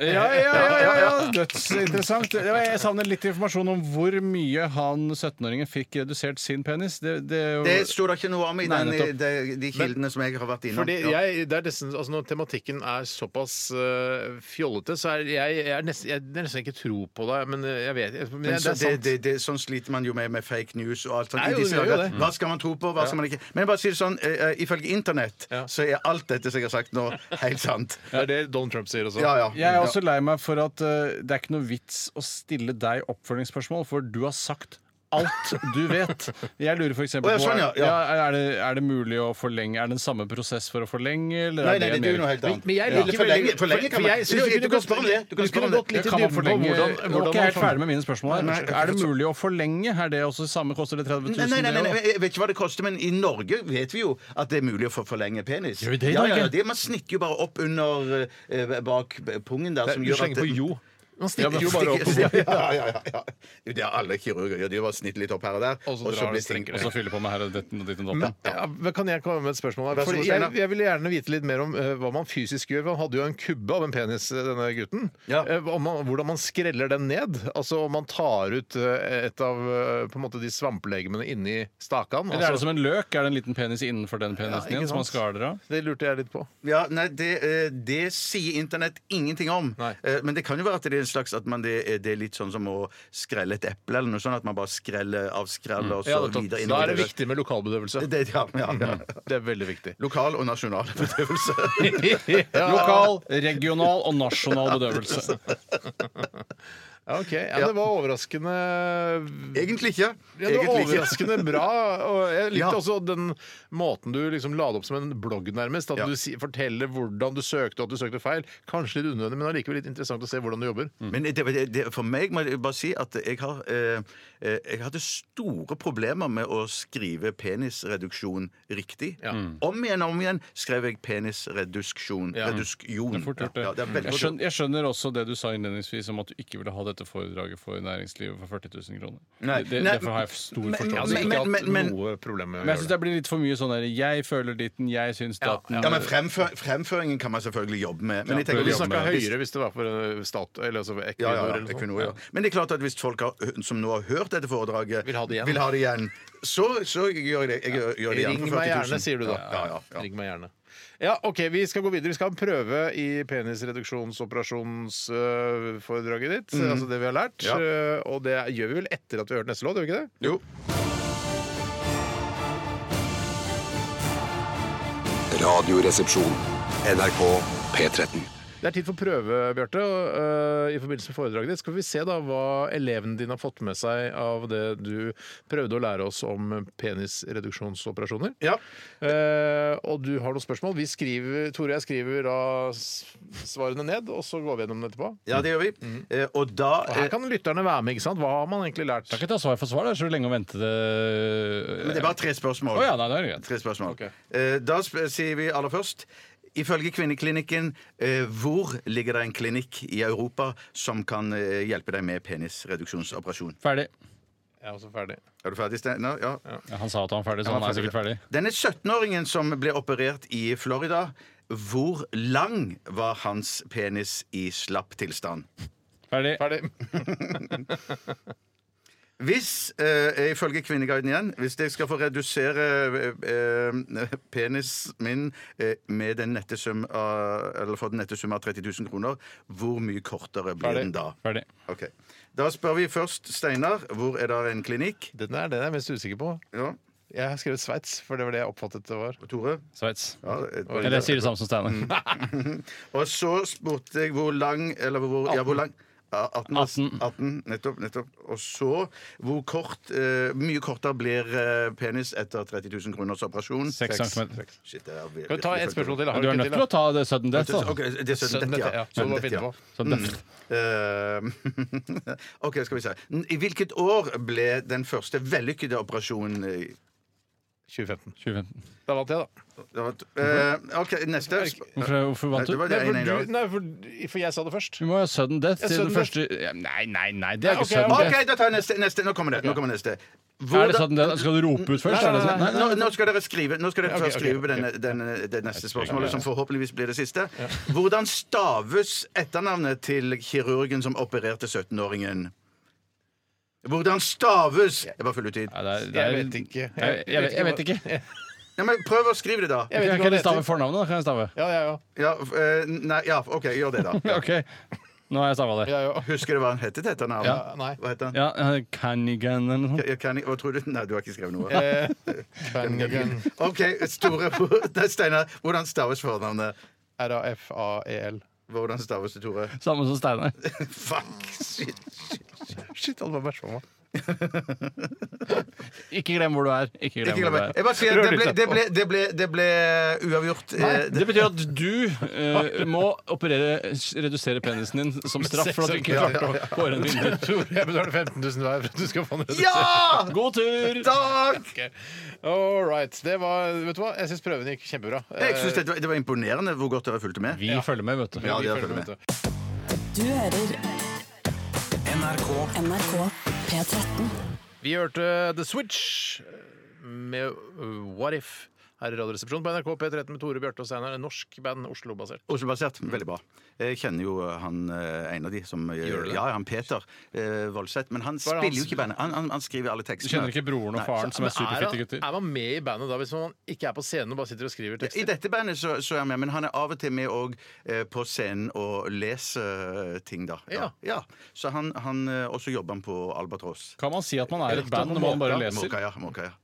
C: Ja, ja, ja, ja, ja. Dødsinteressant. Det var- Jeg savner litt informasjon om hvor mye han 17-åringen fikk redusert sin penis. Det, det,
D: Det sto det ikke noe om i
C: Nei,
D: den, i
C: nettopp.
D: de, de kildene som jeg har vært innom.
B: Fordi
D: Ja.
B: jeg, det er nesten, altså Når tematikken er såpass øh, fjollete, så er jeg, jeg, er nesten, jeg er nesten ikke tro på deg, men øh, jeg vet men
D: Men
B: jeg,
D: så,
B: det er
D: det,
B: sant.
D: det, det, sånn sliter man jo med med fake news og alt sånt.
B: Nei,
D: i
B: jo,
D: disse
B: det gjør jo
D: dager.
B: det.
D: Hva skal man tro på, hva skal man ikke? Men jeg bare si det sånn, eh, eh, ifølge internett
B: Ja.
D: så er alt dette som jeg har sagt nå, helt sant.
B: Det er det Donald Trump sier også.
D: Ja, ja.
C: jeg er også lei meg for at eh, det er ikke noe vits å stille deg oppfølgingsspørsmål, for du har sagt alt du vet. Jeg lurer f.eks. på
D: Å, ja, sånn, ja, ja.
C: er, det, er det mulig å forlenge Er det den samme prosess for å forlenge? Eller
D: Nei, nei, det er jo noe helt
B: Men,
D: annet.
B: men jeg
D: Ja.
B: liker
D: For lenge-
B: veldig-
D: for lenge kan man-
B: jeg synes
D: Du- du
B: vi kunne
D: kan
B: gått-
D: spørre om det. Du kan
B: vi
D: spørre om
B: kunne
D: det.
B: gått litt i
C: kan man
B: dybden på
C: forlenge
B: hvordan-
C: Nå er
B: hvordan
C: ikke jeg helt
B: man-
C: ferdig med mine spørsmål her. er det mulig å forlenge? Er det også samme? Koster det 30 000?
D: Nei, nei, nei, nei,
C: det
D: nei,
C: også?
D: jeg vet ikke hva det koster, men i Norge vet vi jo at det er mulig å få forlenge penis.
C: Gjør vi det i
D: ja,
C: Norge?
D: ja, ja, det, man snitter jo bare opp under eh, bak pungen der.
B: Det er-
D: som
B: Du
D: gjør at
B: slenger på
D: det-
B: jo. Man
D: Ja,
B: stikker
D: men-
B: jo bare opp.
D: Ja, ja, ja, ja. Jo, Det er alle kirurger. gjør. De bare snitter litt opp her og der,
B: Og så drar
D: blir
B: det
D: ting-
B: strengere.
C: Og så fylle på med her og ditten og ditten og
B: Men,
C: datten.
B: ja, men kan jeg komme med et spørsmål? her?
D: Vær så god,
B: Fordi jeg,
D: Steinar.
B: jeg ville gjerne vite litt mer om eh, hva man fysisk gjør. for Han hadde jo en kubbe av en penis, eh, denne gutten.
D: Ja.
B: Eh, om man, hvordan man skreller den ned. Altså om man tar ut eh, et av eh, på en måte, de svamplegemene inni stakan.
C: Eller er det
B: Altså,
C: som en løk? Er det en liten penis innenfor den penisen
B: ikke
C: igjen som man
B: sant.
C: skaler av?
B: det lurte jeg litt på.
D: Ja, nei, det, eh, det sier internett ingenting om.
B: Nei.
D: Eh, Men det kan jo være at det er en slags at man, det, er- det er litt sånn som å skrelle et eple, eller noe sånt. At man bare skreller av skrell, og så videre
B: Mm. da er det viktig Mm. med lokalbedøvelse.
D: Det, ja, ja, ja.
B: Det er veldig viktig.
D: Lokal og nasjonal bedøvelse.
C: Lokal, regional og nasjonal bedøvelse.
B: Ja, ok. ja, det var overraskende
D: Egentlig ikke.
B: ja, det
D: E-
B: var
D: Egentlig ikke.
B: overraskende bra. Og jeg
D: Ja.
B: likte også den måten du liksom la det opp som en blogg, nærmest. At
D: Ja.
B: du si, forteller hvordan du søkte, og at du søkte feil. Kanskje litt unødvendig, men allikevel litt interessant å se hvordan du jobber.
D: Men det, det, det, for meg må jeg bare si at jeg har eh, eh, Jeg hadde store problemer med å skrive penisreduksjon riktig. Om igjen og om igjen skrev jeg penisreduksjon.
B: Ja.
D: Reduksjon.
C: Fort gjort,
D: Ja, det
C: det.
D: er
C: Jeg
D: veldig fort gjort.
C: skjønner, jeg skjønner også det du sa innledningsvis om at du ikke ville ha dette foredraget for næringslivet for 40 000 kroner.
D: Nei.
C: Det,
D: Nei,
C: derfor har jeg stor
D: men-
C: forståelse.
B: Jeg har
D: men-
B: altså, ikke
D: men-
B: hatt
D: men-
B: noe problem med
C: Men
B: å
C: jeg syns
B: gjøre det.
C: det blir litt for mye sånn der Jeg føler ditten, jeg syns datten.
D: Ja, men fremfø- Fremføringen kan man selvfølgelig jobbe med. Men jeg
B: Vi
D: tenker
B: ville
D: jobbe
B: snakka
D: med-
B: høyere hvis det var for eh, stat eller altså, for
D: Ja,
B: Equinor.
D: ja, ja,
B: eller noe
D: Equinor, ja.
B: sånt.
D: Men det er klart at hvis folk har, som nå har hørt dette foredraget,
B: Vil ha det igjen.
D: det igjen, så, så gjør jeg det. Jeg, gjør- gjør det igjen
B: Ring
D: for
B: meg
D: 40 000.
B: gjerne, sier du da.
D: Ja, ja, ja.
B: Ring meg gjerne. Ja, OK, vi skal gå videre. Vi skal ha en prøve i penisreduksjonsoperasjonsforedraget ditt. Altså det vi har
D: Mm.
B: lært.
D: Ja.
B: øh, Og det gjør vi vel etter at vi har hørt neste låt, gjør vi ikke det?
D: Jo.
F: Radioresepsjon. NRK P13.
B: Det er tid for prøve, Bjarte. og, øh, I forbindelse med foredraget ditt skal vi se da hva elevene dine har fått med seg av det du prøvde å lære oss om penisreduksjonsoperasjoner.
D: Ja.
B: Eh, og du har noen spørsmål. Vi skriver, Tore og jeg skriver da s- svarene ned, og så går vi gjennom det etterpå.
D: ja, det gjør vi. Eh, og da
B: Mm. Og her kan lytterne være med. ikke sant? Hva har man egentlig lært?
C: Kan ikke ta svar for svar, det er så lenge å vente det
D: Men det er bare tre spørsmål.
C: Å ja, nei, det er greit.
D: Tre spørsmål.
B: Ok.
D: Eh, Da sp- sier vi aller først Ifølge Kvinneklinikken, eh, hvor ligger det en klinikk i Europa som kan eh, hjelpe deg med penisreduksjonsoperasjon?
C: Ferdig.
B: Jeg er også ferdig.
D: Er du ferdig, Steinar? Ja.
C: Ja, han sa at han var ferdig, så
D: Ja,
C: han er
D: ferdig.
C: sikkert ferdig.
D: Denne 17-åringen som ble operert i Florida, hvor lang var hans penis i slapp tilstand?
C: Ferdig.
B: ferdig.
D: Hvis, eh, ifølge Kvinneguiden igjen, hvis jeg skal få redusere eh, eh, penis min eh, med den nette sum av, eller for den nette sum av 30 000 kroner, hvor mye kortere blir den da?
C: ferdig.
D: Ok. Da spør vi først Steinar. Hvor er det en klinikk?
B: Den er den jeg er mest usikker på.
D: Ja,
B: Jeg har skrevet Sveits, for det var det jeg oppfattet det var.
D: Tore?
C: Sveits.
D: Ja, et-
C: Eller jeg sier det samme som Steinar.
D: Og så spurte jeg hvor lang Eller hvor, ja, hvor lang ja, 18,
C: 18.
D: 18, Nettopp. nettopp Og så hvor kort eh, mye kortere blir eh, penis etter 30 000 kroners operasjon.
C: Seks centimeter.
D: Shit, det er virkelig-
B: Kan vi ta et spørsmål til? da? Har
C: Du er
B: ikke
C: nødt
B: da?
C: til å ta det sudden death, da.
D: Ok, det er
B: Sønn,
D: 17,
B: dette, ja.
D: ja.
B: Så du må
D: Dette,
B: finne
D: ja.
B: på.
C: Sudden death.
D: Eh, OK, skal vi se. I hvilket år ble den første vellykkede operasjonen eh,
B: 2015.
C: 2015.
B: Da vant jeg, da.
D: Det var t- eh, OK, neste.
C: Hvorfor, hvorfor
D: Nei,
C: vant
D: det
C: du?
D: var
B: Nei,
D: det
B: for,
D: ene i dag.
B: du, nei, for, for jeg sa det først.
C: Du må ha sudden death
B: Ja,
C: til den
B: sudden
C: første ja, Nei, nei, nei, det er ikke
B: Nei, ok,
C: sudden
B: ok.
D: OK, da tar jeg neste. neste. Nå kommer det. Nå kommer neste.
C: death. Er det sudden death? Skal du rope ut først? er
B: Nei,
C: det
B: nei,
C: sånn?
B: nei,
D: Nå, nå skal dere skrive Nå skal dere
B: Ok,
D: først
B: ok,
D: skrive på
B: ok.
D: denne, denne, det neste spørsmålet, som forhåpentligvis blir det siste. Hvordan staves etternavnet til kirurgen som opererte 17-åringen? Hvordan staves Jeg bare følger ut tid.
C: Nei, det er- det er-
B: Jeg vet ikke.
C: Nei, Jeg, jeg, jeg vet ikke. Jeg,
D: Ja, men prøv å skrive det, da.
B: Jeg vet ikke hva
C: kan
B: det
C: jeg stave
B: heter.
C: fornavnet? da? Kan jeg stave?
B: Ja, jeg òg.
D: Ja, f- eh, nei, ja, OK, gjør det, da.
C: OK. Nå har jeg stava det.
B: Ja, jeg òg.
D: Husker du hva han het til etternavn?
B: Ja, nei.
D: Hva het han?
C: Ja, eh, Canigan eller noe sånt.
D: Ja, kan jeg, hva tror du? Nei, du har ikke skrevet noe.
B: Eh. Fangen.
D: OK, Store Det er Steinar. Hvordan staves fornavnet?
B: R-A-F-A-E-L.
D: Hvordan staves det, Tore?
C: Samme som Steinar.
D: Fuck! Shit.
B: Shit, alle var bæsja på meg.
C: Ikke glem hvor du er. Ikke glem
D: Ikke glem
C: hvor
D: det.
C: du
D: Jeg
C: er.
D: bare sier, det ble, det ble, det ble, det ble uavgjort. Eh,
C: Det betyr at du eh, må operere redusere penisen din som straff for at du ikke
B: Ja,
C: klarte å kåre en vinner.
B: Tore, jeg betaler 15 000 hver for at du skal få den redusert.
D: Ja!
C: God tur!
D: Takk!
B: Ok. All right. Det var, vet du hva? Jeg syns prøven gikk kjempebra. Eh,
D: Jeg synes det, var- det var imponerende hvor godt dere fulgte med.
C: Vi følger med, vet du.
D: Ja, det
B: Vi
D: er
B: følger
D: følger
B: med,
D: med.
B: vet du.
E: Du hører
G: NRK
E: NRK P13.
B: Vi hørte The Switch eh, med uh, What If her i Radioresepsjonen på NRK P13 med Tore Bjarte og Steinar. En norsk band, Oslo-basert.
D: Oslo-basert. Veldig bra. Jeg kjenner jo han eh, en av de som
B: Gjør du det?
D: Ja, han Peter eh, Voldseth. Men han
B: er det
D: spiller jo
B: han-
D: ikke i bandet. Han, han, han skriver alle tekstene.
C: Du kjenner ikke broren og
D: Nei.
C: faren som
B: Men
C: er superfitte
B: han-
C: gutter?
B: er man med i bandet da hvis man ikke er på scenen og bare sitter og skriver
D: I
B: tekster?
D: dette bandet så, så er han med, men han er av og til med og, eh, på scenen og leser eh, ting, da.
B: Ja.
D: ja. Så han, han eh, Og så jobber han på Albatross.
C: Kan man si at man er et
B: Rektor
C: band når man bare leser?
D: Måka, ja. Måka, ja.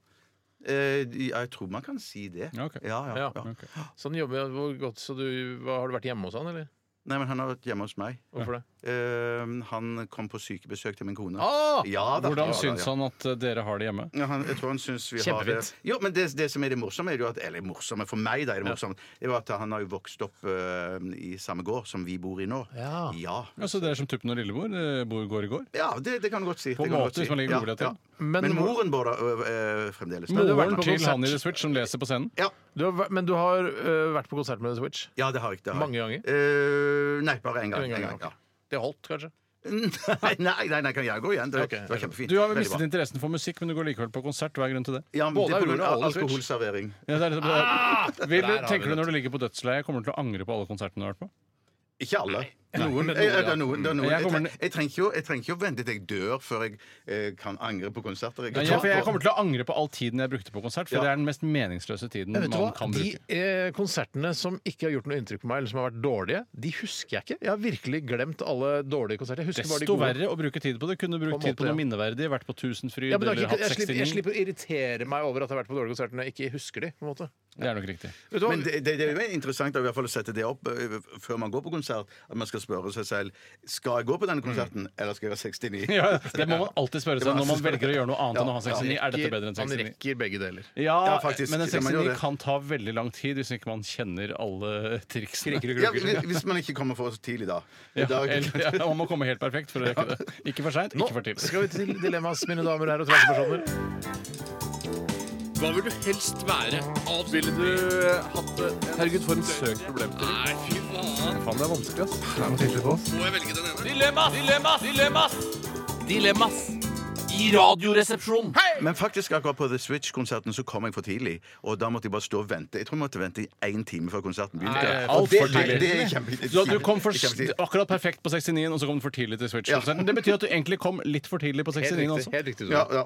D: Eh, jeg tror man kan si det.
C: Ja, ok.
D: Ja, ja, ja.
B: Ja. Sånn jobber jeg hvor godt, så du, hva, Har du vært hjemme hos han, eller?
D: Nei, men han har vært hjemme hos meg.
B: Hvorfor det?
D: Eh, han kom på sykebesøk til min kone.
B: Ah!
D: Ja da, ja
C: Hvordan
D: da,
C: syns
D: ja.
C: han at eh, dere har det hjemme?
D: Ja, han, jeg tror han syns vi har det
B: Kjempefint.
D: Jo, men det, det som er det morsomme, er jo at Eller morsomme for meg, da, er det morsomme Det er jo at han har jo vokst opp eh, i samme gård som vi bor i nå.
B: Ja.
D: Ja,
C: Altså, dere som Tuppen og Lillemor eh, bor, går i går?
D: Ja, det, det kan du godt si.
C: På
D: det
C: en
D: kan du
C: måte,
D: godt si.
C: hvis man legger
D: Ja,
C: godvilje til.
D: ja.
B: Men
D: Men
B: mor-
D: moren vår da, eh, eh, fremdeles.
B: du har vært
C: Moren
B: på
C: til
B: konsert.
C: han i The Switch som leser på scenen?
D: Ja.
B: Du har, vært- men du har øh, vært på konsert med The Switch?
D: ja, det har jeg ikke. det har jeg.
B: Mange ganger?
D: Eh, nei, bare én gang.
B: En gang,
D: en gang
B: ja.
D: ja.
B: Det holdt, kanskje?
D: Nei, nei, nei, nei, kan jeg gå igjen? Det,
B: Ok.
D: det var kjempefint.
C: Du har vel
D: Veldig
C: mistet
D: bra.
C: interessen for musikk, men du går likevel på konsert. Hva er grunnen til det?
D: ja, men
B: Både
D: det er på grunn
B: Aurora og
D: av
B: Aldrich.
D: alkoholservering.
C: Ja, det er litt- Vil,
B: Ah! Der har vi
C: tenker du
B: det.
C: når du ligger på dødsleiet, kommer du til å angre på alle konsertene du har vært på?
D: Ikke alle.
B: Noen,
D: Jeg, jeg, det er noen, det er noen.
C: Jeg
D: Jeg,
C: kommer-
D: trenger- jeg, trenger ikke, å- jeg trenger ikke å vente til jeg dør før jeg eh, kan angre på konserter. Jeg,
C: Nei,
D: har
C: jeg, for jeg
D: tatt på.
C: kommer til å angre på all tiden jeg brukte på konsert, for
D: Ja.
C: det er den mest meningsløse tiden
B: Men vet
C: man
B: du hva?
C: kan
B: De
C: bruke.
B: eh, konsertene som ikke har gjort noe inntrykk på meg, eller som har vært dårlige, de husker jeg ikke. Jeg har virkelig glemt alle dårlige konserter. Jeg husker bare de
C: Desto
B: gode.
C: verre å bruke tid på det. Kunne
B: På en
C: brukt tid
B: måte,
C: på noe
B: ja.
C: minneverdig, vært på Tusenfryd
B: Ja, men da,
C: eller
B: ikke,
C: hatt
B: jeg, slipper,
C: 69.
B: jeg slipper å irritere meg over at jeg har vært på dårlige konserter når jeg ikke husker de, på en måte.
C: Det er nok riktig.
B: Vet du hva?
D: Men det, det, det er jo interessant å i hvert fall sette det opp eh, før man går på konsert. At man skal spørre seg selv Skal jeg gå på denne konserten, eller skal jeg være 69?
C: Mm. Ja, det må man alltid spørre seg
D: Det
C: når
D: må
C: man
D: man alltid
C: velger å gjøre noe annet enn å ha
B: Han
C: 69. Er dette
B: rekker-
C: bedre enn 69?
B: Han rekker begge deler.
C: Ja,
D: Ja, faktisk.
C: men en
D: Ja, man gjør
C: 69
D: det.
C: kan ta veldig lang tid hvis ikke man kjenner alle triksene.
D: Ja, hvis- hvis man ikke kommer for tidlig, da.
C: Ja,
D: da
C: eller- ja, man må komme helt perfekt for å rekke det. Ikke for seint,
B: Nå
C: ikke for tidlig.
B: skal vi til dilemmas, mine damer og herrer og transpersoner.
H: Hva vil du helst være? Ville du hatt det? Herregud, for en søk problemstilling. Nei, fy faen.
B: Faen, det er vanskelig, ass.
H: Må jeg velge den ene?
I: Dilemmas! Dilemmas! Dilemmas! Dilemmas! I radioresepsjonen.
D: Men faktisk akkurat på The Switch-konserten så kom jeg for tidlig. Og da måtte jeg bare stå og vente. Jeg tror jeg måtte vente i én time før konserten begynte.
C: Nei,
D: Og
C: alt
D: det-
C: for tidlig.
D: Det, det er kjempe,
C: Så du kom for,
D: det er kjempetidlig.
C: akkurat perfekt på 69-en, og så kom du for tidlig til Switch. Det betyr at du egentlig kom litt for tidlig på
B: Helt
C: 69-en
B: riktig.
C: også.
B: Helt riktig Tore.
D: Ja, ja.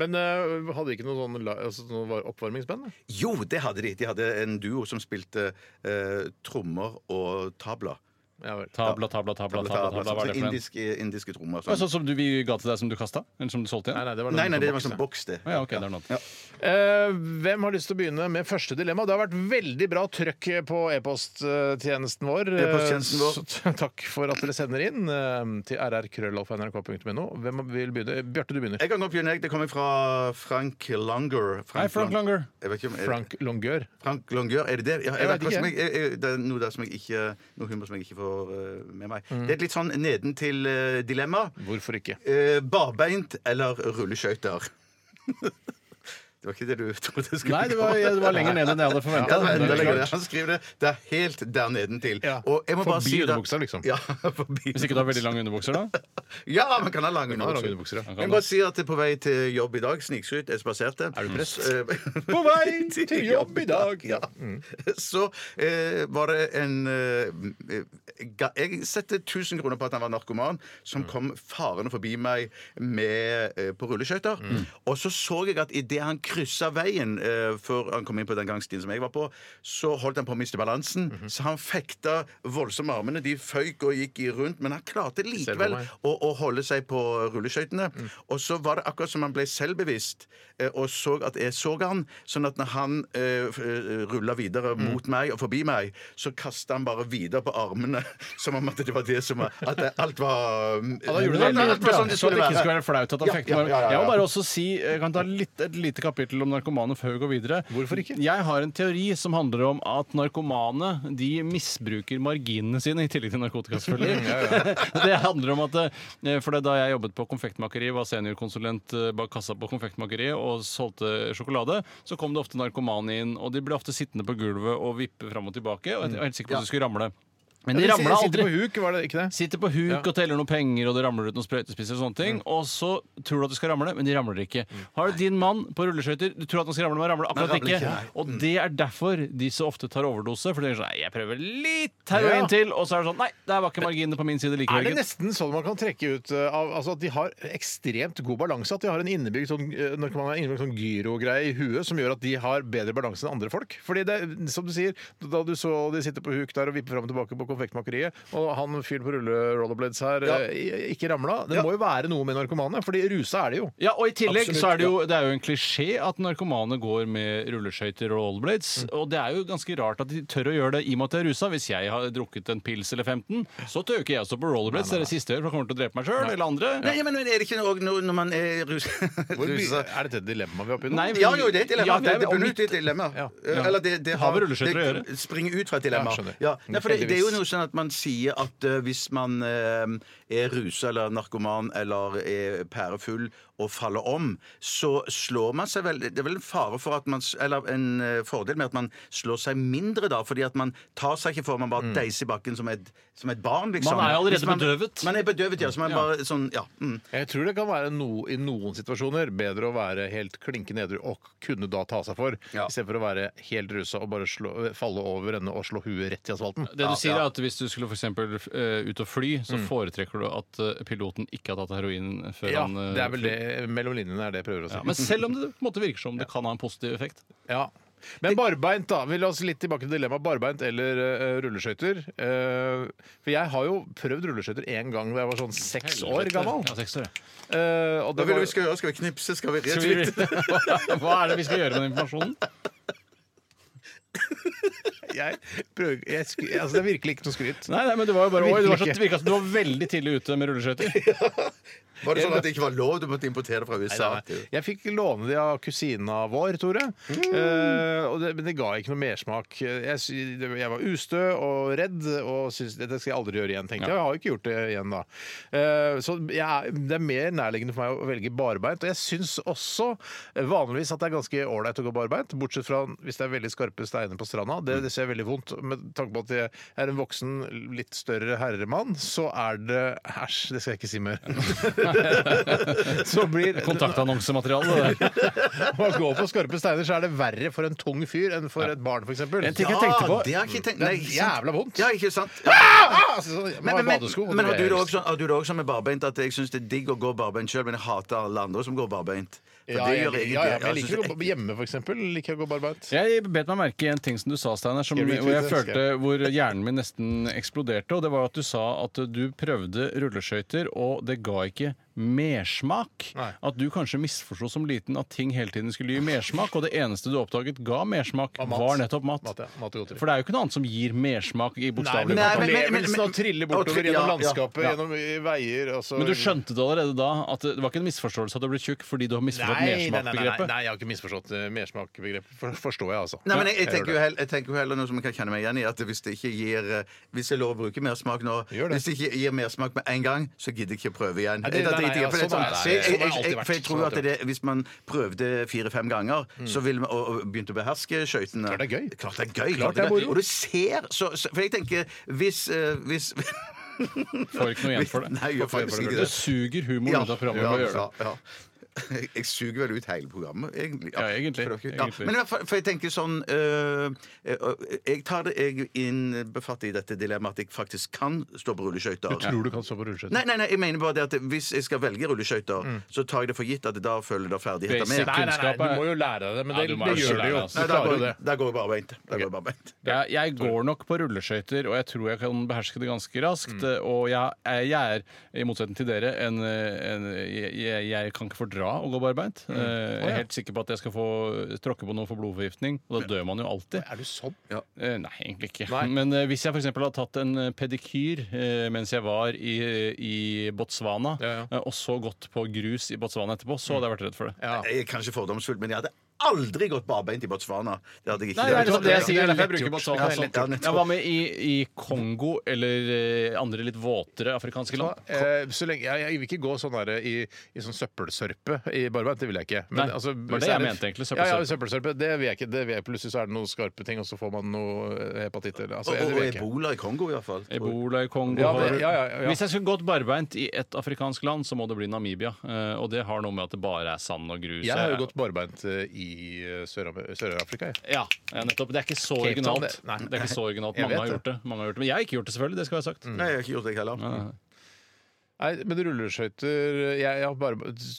B: Men eh, hadde de ikke noe sånn la- altså, noe var- oppvarmingsband? da?
D: Jo, det hadde de. De hadde en duo som spilte eh, trommer og tabla.
B: Ja vel.
C: Tabla, tabla, tabla,
D: Tabla, sånn
C: tabla, tabla, hva er det for en?
D: indiske, indiske trommer. og
C: Ja,
D: sånn.
C: Sånn som du, vi ga til deg som du kasta? Eller som du solgte
B: Nei,
C: igjen?
B: nei, det var noe
D: Nei, nei, det var
B: boks,
D: sånn
B: ja.
D: boks, det.
C: Å ja, ok, det er noe annet.
B: Eh, hvem har lyst til å begynne med første dilemma? Det har vært veldig bra trøkk på e-posttjenesten vår.
D: E-posttjenesten vår.
B: Eh, så t- takk for at dere sender inn eh, til rrkrøllalfa.nrk.no. Hvem vil begynne? Bjarte, du begynner.
D: Jeg kan godt begynne. jeg. Det kommer fra Frank Longer.
C: Hei, Frank
D: Lang-
C: Langer.
D: Jeg vet ikke om, er, Frank.
B: Frank Longør.
D: Frank Longer, er det det? Ja, jeg vet
B: Jeg vet
D: hva som
B: ikke.
D: jeg, jeg, jeg, det er noe der som jeg ikke Noe humor som jeg ikke får eh, med meg.
C: Mm.
D: Det er et litt sånn nedentil-dilemma. Eh,
B: Hvorfor ikke?
D: barbeint eller rulleskøyter? Det var ikke det du trodde det skulle
C: Nei, det var, det var lenger ned enn jeg hadde
D: Ja, det var enda lenger ned.
C: forventa.
D: Han skriver det. Det er helt der nedentil.
B: Ja.
D: Og jeg må bare
B: Forbi
D: si det-
B: underbuksa, liksom.
D: Ja, forbi
C: Hvis ikke du har veldig lange underbukser, da.
D: Ja, man kan ha lange
B: ha lange
D: underbukser.
B: underbukser, ja.
D: Jeg må bare si at jeg er på vei til jobb i dag. Snikskryt. Jeg spaserte. Er du prest?
C: På vei til jobb i dag.
D: Eh, Ja. Så eh, var det en eh, ga, Jeg setter 1000 kroner på at han var narkoman, som kom farende forbi meg med, eh, på rulleskøyter. Og så så jeg at idet han kryssa veien eh, før han kom inn på den gangstien som jeg var på, så holdt han på å miste balansen. Så han fekta voldsomt med armene. De føyk og gikk i rundt, men han klarte likevel
B: meg.
D: å, å holde seg på rulleskøytene. Og så var det akkurat som han ble selvbevisst eh, og så at jeg så han. Sånn at når han eh, rulla videre mot meg og forbi meg, så kasta han bare videre på armene. Som om at det var det som var At det, alt var
B: da gjorde du
D: Alt-
B: det veldig
D: alt var
B: bra,
D: sånn det
C: Så
D: skulle
C: det ikke skulle
D: være.
C: være flaut at han
D: Ja,
C: fikk
D: ja,
C: noe.
D: ja, ja, ja.
C: Jeg må bare også si, jeg kan ta litt, et lite kapittel om narkomane før vi går videre.
B: Hvorfor ikke?
C: Jeg har en teori som handler om at narkomane de misbruker marginene sine i tillegg til narkotika, selvfølgelig. Det handler om at eh, For det er da jeg jobbet på konfektmakeri, var seniorkonsulent eh, bak kassa på konfektmakeriet og solgte sjokolade, så kom det ofte narkomane inn, og de ble ofte sittende på gulvet og vippe fram og tilbake, og jeg var helt sikker på at de skulle ramle. Men de ramla
B: Sitter
C: aldri.
B: på huk, var det ikke det?
C: Sitter på huk og teller noen penger, og det ramler ut noen sprøytespisser. Og sånne ting
D: Mm.
C: Og så tror du at du skal ramle, men de ramler ikke. Har du din mann på rulleskøyter, du tror at han skal ramle, men han ramler akkurat
D: Nei,
C: ikke.
D: ramler ikke, nei. Mm.
C: Og det er derfor de så ofte tar overdose. For de tenker sånn Nei, jeg prøver litt heroin
B: Ja.
C: til, og så er det sånn Nei, der var ikke marginene på min side
B: Er det
C: likevel.
B: nesten sånn man kan trekke ut uh, av altså at de har ekstremt god balanse? At de har en innebygd sånn, uh, narkoman har en innebygd sånn gyrogreie i huet som gjør at de har bedre balanse enn andre folk? Fordi det, er- som du sier, da du så de sitter på huk der og vipper fram og tilbake på konfektmakeriet, og han fyren på rulle rollerblades her
D: Ja.
B: uh, i- ikke ramla Det må jo være noe med narkomane, fordi rusa er det jo.
C: Ja, og i tillegg
D: Absolutt,
C: så er det jo Det er jo en klisjé at narkomane går med rulleskøyter og rollerblades.
D: Mm.
C: Og det er jo ganske rart at de tør å gjøre det i og med at de er rusa. Hvis jeg har drukket en pils eller 15, så tør jo ikke jeg å stå på rollerblades. Det er det siste jeg gjør, for jeg kommer til å drepe meg sjøl eller andre.
D: Nei, men er det ikke noe når, når man er rus-
B: Hvor mye-
D: rusa
B: Er dette et dilemma vi er oppe i nå?
C: Nei, men-
D: Ja, jo, det er et dilemma.
C: Ja,
D: det er
C: men- og
D: benyttet et dilemma.
B: Ja.
D: Eh, Eller det, det
C: har med rulleskøyter å
D: det Springer ut fra et dilemma.
B: Ja, skjønner.
D: Ja, Nei, for det, det er jo
B: Heldigvis.
D: noe sånn at man sier at eh, hvis man eh, er rusa eller narkoman eller er pærefull og faller om, så slår man seg vel Det er vel en fare for at man s- Eller en eh, fordel med at man slår seg mindre da, fordi at man tar seg ikke for man bare deiser i bakken som et, som et barn, liksom.
C: Man er jo allerede
D: Hvis man-
C: bedøvet.
D: Man er bedøvet, ja. Så man
C: Ja.
D: bare sånn Ja. Mm.
B: Jeg tror det kan være no, i noen situasjoner bedre å være helt klinke nedru og kunne da ta seg for,
D: Ja.
B: istedenfor å være helt rusa og bare slå, falle over ende og slå huet rett i asfalten.
C: Det du sier er at Hvis du skulle for eksempel, eh, ut og fly, så foretrekker du at eh, piloten ikke har tatt heroin før
B: Ja,
C: han eh,
B: det er vel
C: flyr.
B: det mellom linjene er det jeg prøver å si.
C: Ja, men selv om det på en måte virker som det kan ha en positiv effekt.
B: Ja. Men barbeint, da. Vi la oss litt tilbake til dilemmaet barbeint eller eh, rulleskøyter. Eh, for jeg har jo prøvd rulleskøyter én gang da jeg var sånn seks år gammel.
C: Ja, seks år.
B: Eh,
D: Hva
B: og
D: vil
B: det
D: du
B: var,
D: vi skal gjøre? Skal vi knipse? Skal vi
C: Skal
D: retweete?
C: vi- Hva er det vi skal gjøre med den informasjonen?
B: jeg, prøver, jeg, sku- altså, det er virkelig ikke noe skryt.
C: Nei, nei, men Det var jo bare, oi, det var så,
B: Virkelig
C: det virka som du var veldig tidlig ute med rulleskøyter.
D: Var det sånn at det ikke var lov? Du måtte importere det fra USA?
B: Nei, nei. Jeg fikk låne de av kusina vår, Tore. Eh, og det, men det ga ikke noe mersmak. Jeg, sy- det- jeg var ustø og redd og syntes dette skal jeg aldri gjøre igjen. tenkte jeg. Jeg har jo ikke gjort det igjen da. Eh, så jeg, er- det er mer nærliggende for meg å velge barbeint. Og jeg syns også eh, vanligvis at det er ganske ålreit å gå barbeint, bortsett fra hvis det er veldig skarpe steiner på stranda. Det, det ser veldig vondt Med tanke på at jeg er en voksen, litt større herremann, så er det Æsj, det skal jeg ikke si mer. så blir
C: Kontaktannonsemateriale. det der.
B: å gå på skarpe steiner, så er det verre for en tung fyr enn for et barn, f.eks.
C: En ting jeg tenkte på
D: Ah, det har jeg ikke tenkt
B: Det er
D: nei, ikke sant.
B: jævla vondt. Ah, altså,
D: Ja, ikke sant?
B: sånn,
D: Men, men, men, men har du det også sånn, har du det også sånn med barbeint at jeg syns det er digg å gå barbeint sjøl, men jeg hater alle andre som går barbeint? For
B: Ja,
D: det
B: jeg,
D: gjør jeg ikke. Altså,
B: ja, ja, men jeg liker
D: synes
B: å gå hjemme, f.eks. Liker jeg å gå barbeint.
C: Jeg bet meg merke i en ting som du sa, Steinar, som,
B: Skal
C: hvor
B: vi
C: jeg
B: tweete?
C: følte hvor hjernen min nesten eksploderte. Og det var at du sa at du prøvde rulleskøyter, og det ga ikke mersmak.
B: Nei.
C: At du kanskje misforsto som liten at ting hele tiden skulle gi mersmak, og det eneste du oppdaget ga mersmak,
B: mat.
C: var nettopp mat.
B: Mat, ja. Mat og godteri.
C: For det er jo ikke noe annet som gir mersmak i bokstavelig
D: Nei, men-
C: forstand.
D: men- men-
B: Opplevelsen av å trille
D: Å,
B: bortover
D: tri-
B: gjennom
D: ja, ja,
B: landskapet,
D: ja.
B: gjennom eh, veier altså-
C: Men du skjønte det allerede da? At det var ikke en misforståelse at du ble tjukk fordi du har misforstått
B: Nei, nei, nei, nei, nei,
C: mersmakbegrepet?
B: nei, jeg har ikke misforstått eh, mersmakbegrepet. For, forstår jeg, altså.
D: Nei, men jeg, jeg,
B: gjør
D: tenker jo
B: det.
D: heller, jeg tenker jo heller noe som jeg kan kjenne meg igjen i, at hvis det ikke gir eh, Hvis jeg lover å bruke mersmak nå
B: Gjør det.
D: Hvis det ikke gir mersmak med en gang, så gidder jeg ikke å prøve igjen.
B: Nei, det-
D: Da
B: nei,
D: driter jeg i. for det er
B: sånn er
D: sånn- så
B: det.
D: jeg-
B: Sånn har det
D: jeg-
B: alltid
D: jeg- For jeg
B: vært.
D: tror jo at det, hvis man prøvde fire-fem ganger, så ville man og, og begynte å beherske skøytene.
B: Klart det er gøy.
D: Klart det er gøy.
B: Klart det er moro.
D: Og du ser så, så For jeg tenker, hvis, eh, hvis
C: Får ikke noe igjen for det.
D: Nei, jeg gjør faktisk ikke
C: Det
D: det.
C: suger humoren ut av programmet. ved å gjøre det.
D: ja, ja. Jeg suger vel ut hele programmet, egentlig.
C: Ja, egentlig,
D: For det er ikke-
C: egentlig.
D: Ja. Men i hvert fall, for jeg tenker sånn øh, øh, Jeg tar det jeg innbefatter i dette dilemmaet at jeg faktisk kan stå på rulleskøyter.
B: Du tror du kan stå på rulleskøyter?
D: Nei, nei, nei, jeg mener bare det at hvis jeg skal velge rulleskøyter, så tar jeg det for gitt at da følger det ferdigheter
C: Mm. Basic.
D: med.
B: Nei, nei, nei,
C: Kunnskap
B: du
C: er-
B: må jo lære deg det, men
C: Ja,
B: det,
C: du må
B: det
C: jo
B: gjør
C: lære
B: du jo.
C: deg, altså.
B: Du
D: Nei, da,
B: klarer jo
D: går,
B: det.
D: da går jeg bare beint. Da går jeg bare beint.
C: Jeg, jeg går nok på rulleskøyter, og jeg tror jeg kan beherske det ganske raskt.
B: Mm.
C: Og jeg, jeg, jeg er, i motsetning til dere, en, en jeg, jeg- jeg kan ikke fordra å gå barbeint.
B: Mm.
C: Eh, Jeg er helt sikker på at jeg skal få tråkke på noe for blodforgiftning, og da dør man jo alltid.
B: Er du sånn?
C: Eh, Nei, egentlig ikke.
B: Nei.
C: Men eh, hvis jeg f.eks. har tatt en eh, pedikyr eh, mens jeg var i, eh, i Botswana,
B: Ja, ja.
C: eh, og så gått på grus i Botswana etterpå, så hadde jeg vært redd for det.
B: Ja.
D: Jeg er kanskje fordomsfull, men jeg hadde aldri gått barbeint i Botswana. Det hadde jeg ikke.
C: Nei, det er liksom det jeg sier. Derfor jeg
B: Det er lett
C: bruker
B: gjort.
C: Botswana
D: Ja,
C: som
D: lett gjort.
C: Jeg var med i, i Kongo eller eh, andre litt våtere afrikanske land.
B: Eh, så lenge, jeg, jeg vil ikke gå sånn der, i, i sånn søppelsørpe i barbeint. Det vil jeg ikke. Men, altså,
C: Nei, det var
B: hvis
C: det jeg
B: er-
C: mente egentlig, søppelsørpe.
B: Ja, ja, søppelsørpe. Det vil jeg ikke. Det vil jeg. Plutselig så er det noen skarpe ting, og så får man noe eh, hepatitt. eller- Altså,
D: Og,
B: jeg- det
D: og,
B: vil
D: og
B: jeg ikke.
D: ebola i Kongo, i hvert fall.
C: Ebola i Kongo
B: Ja, men-
C: har-
B: ja, ja, ja.
C: Hvis jeg skulle gått barbeint i et afrikansk land, så må det bli Namibia. Eh, Og det har noe med at det bare er sand og grus.
B: Jeg har jo gått barbeint eh, i eh, Sør-Am- Sør-Afrika. jeg.
C: Ja, ja, nettopp. Det er ikke så
B: Cape Town,
C: originalt.
B: det- nei.
C: det er ikke så originalt.
B: Jeg
C: Mange
B: vet
C: har,
B: det.
C: gjort det. Mange har gjort det. Men jeg har ikke gjort det, selvfølgelig. Det skal være sagt.
D: Nei, jeg har ikke gjort det, jeg heller.
B: Nei, men rulleskøyter eh, jeg, jeg har bare,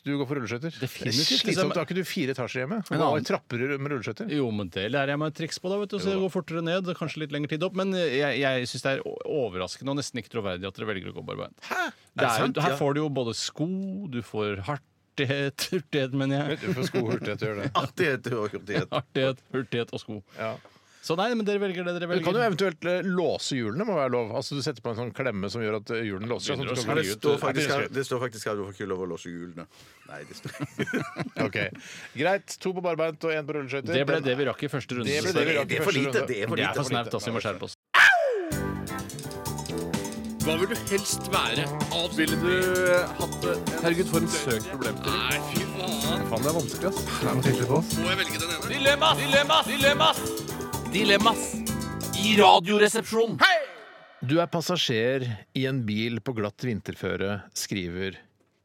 B: Du går for rulleskøyter?
C: Definitivt,
B: Det er
C: liksom.
B: Slitsomt. Har ikke du fire etasjer hjemme?
C: En
B: Og
C: annen-
B: trapper med rulleskøyter?
C: Jo, men det lærer jeg meg et triks på, da, vet du. Så det går fortere ned. og Kanskje litt lengre tid opp. Men eh, jeg, jeg syns det er o- overraskende og nesten ikke troverdig at dere velger å gå barbeint. Det er jo-
D: sant?
C: Her
D: Ja.
C: får du jo både sko, du får hartighet, hurtighet, mener jeg.
B: Du får skohurtighet til å gjøre det.
D: Artighet og hurtighet.
C: Hartighet, hurtighet og sko.
B: Ja.
C: Så nei, men dere velger det dere
B: Du
C: velger.
B: kan jo eventuelt eh, låse hjulene, må være lov. Altså Du setter på en sånn klemme som gjør at eh, hjulene låser seg. Sånn at du
D: Ja,
B: kan
D: det,
B: gli ut.
D: står faktisk,
B: Ja,
D: her- eh, det står faktisk her at du får ikke lov å låse hjulene. Nei, det står
B: Ok. Greit. To på barbeint og én på rulleskøyter.
C: det ble
B: Den-
C: det vi rakk i første runde.
B: Det ble
C: dessverre.
B: det vi rakk.
D: Det er for lite. Det er for
C: Det er
D: lite.
C: for snaut, altså. Vi må skjerpe oss.
H: Hva vil du helst være? Ville du eh, hatt det? Herregud, for en søk problemstilling. Nei, fy faen. Må jeg velge den ene?
I: Dilemmas! Dilemmas! Dilemmas! Dilemmas i Radioresepsjonen.
B: Du er passasjer i en bil på glatt vinterføre, skriver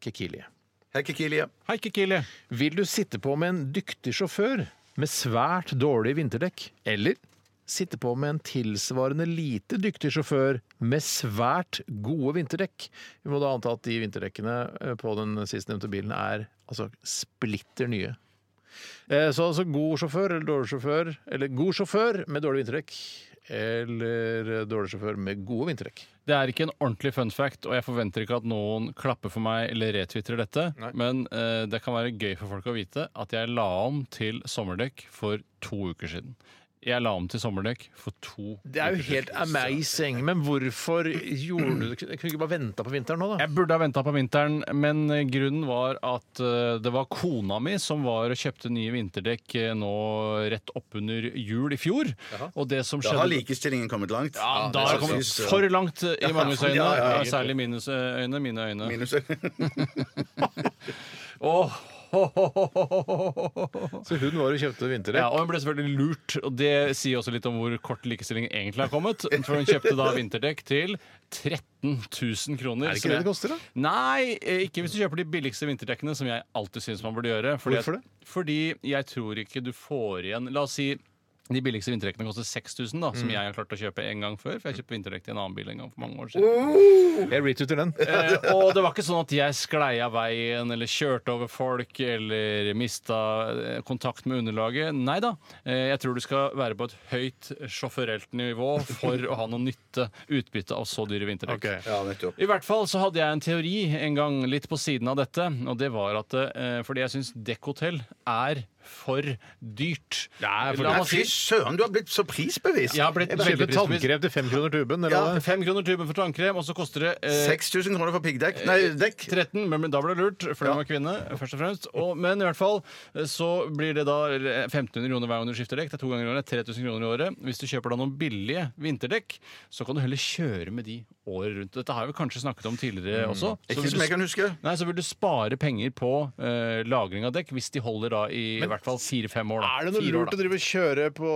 B: Kekilie.
D: Hei, Kikilie.
C: Hei, Kikili.
B: Vil du sitte på med en dyktig sjåfør med svært dårlig vinterdekk? Eller sitte på med en tilsvarende lite dyktig sjåfør med svært gode vinterdekk? Vi må da anta at de vinterdekkene eh, på den sistnevnte bilen er altså splitter nye. Eh, Så altså god sjåfør eller dårlig sjåfør, eller god sjåfør med dårlig vinterdekk. Eller eh, dårlig sjåfør med gode vinterdekk.
C: Det er ikke en ordentlig fun fact, og jeg forventer ikke at noen klapper for meg eller retwitter dette,
B: Nei.
C: men eh, det kan være gøy for folk å vite at jeg la om til sommerdekk for to uker siden. Jeg la om til sommerdekk for to
B: Det er jo
C: uker siden.
B: helt amazing, men hvorfor gjorde du det? Kunne du ikke bare venta på vinteren nå, da?
C: Jeg burde ha venta på vinteren, men eh, grunnen var at eh, det var kona mi som var og kjøpte nye vinterdekk eh, nå rett oppunder jul i fjor. Og det som
D: Da har
C: skjedde
D: likestillingen kommet langt.
C: Ja, da
D: det
C: har
D: er
C: det kommet
D: sant.
C: for langt eh, i mannes øyne.
D: Ja, ja, ja.
C: Særlig minus eh, øyne. Mine øyne.
D: Minus.
C: Åh, ho, ho, ho, ho, ho, ho, ho.
B: Så hun var og kjøpte vinterdekk?
C: Ja, og hun ble selvfølgelig lurt, og det sier også litt om hvor kort likestilling egentlig har kommet. For hun kjøpte da vinterdekk til 13 000 kroner.
B: Er det
C: som
B: ikke det det
C: jeg-
B: koster, da?
C: Nei, eh, ikke hvis du kjøper de billigste vinterdekkene, som jeg alltid syns man burde gjøre. Fordi
B: Hvorfor
C: at- Fordi jeg tror ikke du får igjen La oss si de billigste vinterdekkene koster 6000, da, som
B: Mm.
C: jeg har klart å kjøpe en gang før. For jeg kjøpte vinterdekk til en annen bil en gang for mange år siden.
B: Jeg retweeter den.
C: Eh, og det var ikke sånn at jeg sklei av veien eller kjørte over folk eller mista eh, kontakt med underlaget. Nei da. Eh, Jeg tror du skal være på et høyt sjåførelt nivå for å ha noe nytte, utbytte av så dyre vinterdekk.
B: Ok.
D: Ja, nettopp.
C: I hvert fall så hadde jeg en teori en gang litt på siden av dette, og det var at eh, fordi jeg syns dekkhotell er for dyrt.
B: Nei, for
C: La
D: Nei,
C: meg
D: Fy
C: si
D: søren, du har blitt så prisbevisst!
C: jeg har blitt veldig
B: Kjøper
C: prisbevisst.
B: tannkrem til fem kroner tuben? Eller
C: Ja,
B: hva?
C: Fem kroner tuben for tannkrem, og så koster det eh,
D: 6000 kroner for piggdekk. Nei, dekk.
C: 13, men, men da ble det lurt, for det var kvinne. først og fremst. Og, men i hvert fall eh, så blir det da eh, 1500 kroner hver gang du skifter dekk. Det er to ganger i året. 3000 kroner i året. Hvis du kjøper da noen billige vinterdekk, så kan du heller kjøre med de året rundt. Dette har vi kanskje snakket om tidligere
B: Mm.
C: også. Så
D: Ikke
C: vil
D: som
C: du-
D: jeg kan huske.
C: Nei, så vil du spare penger på eh, lagring av dekk hvis de holder da i, i hvert fall fire-fem år. Da.
B: Er det noe
C: Fire år,
B: lurt
C: da.
B: å drive og kjøre på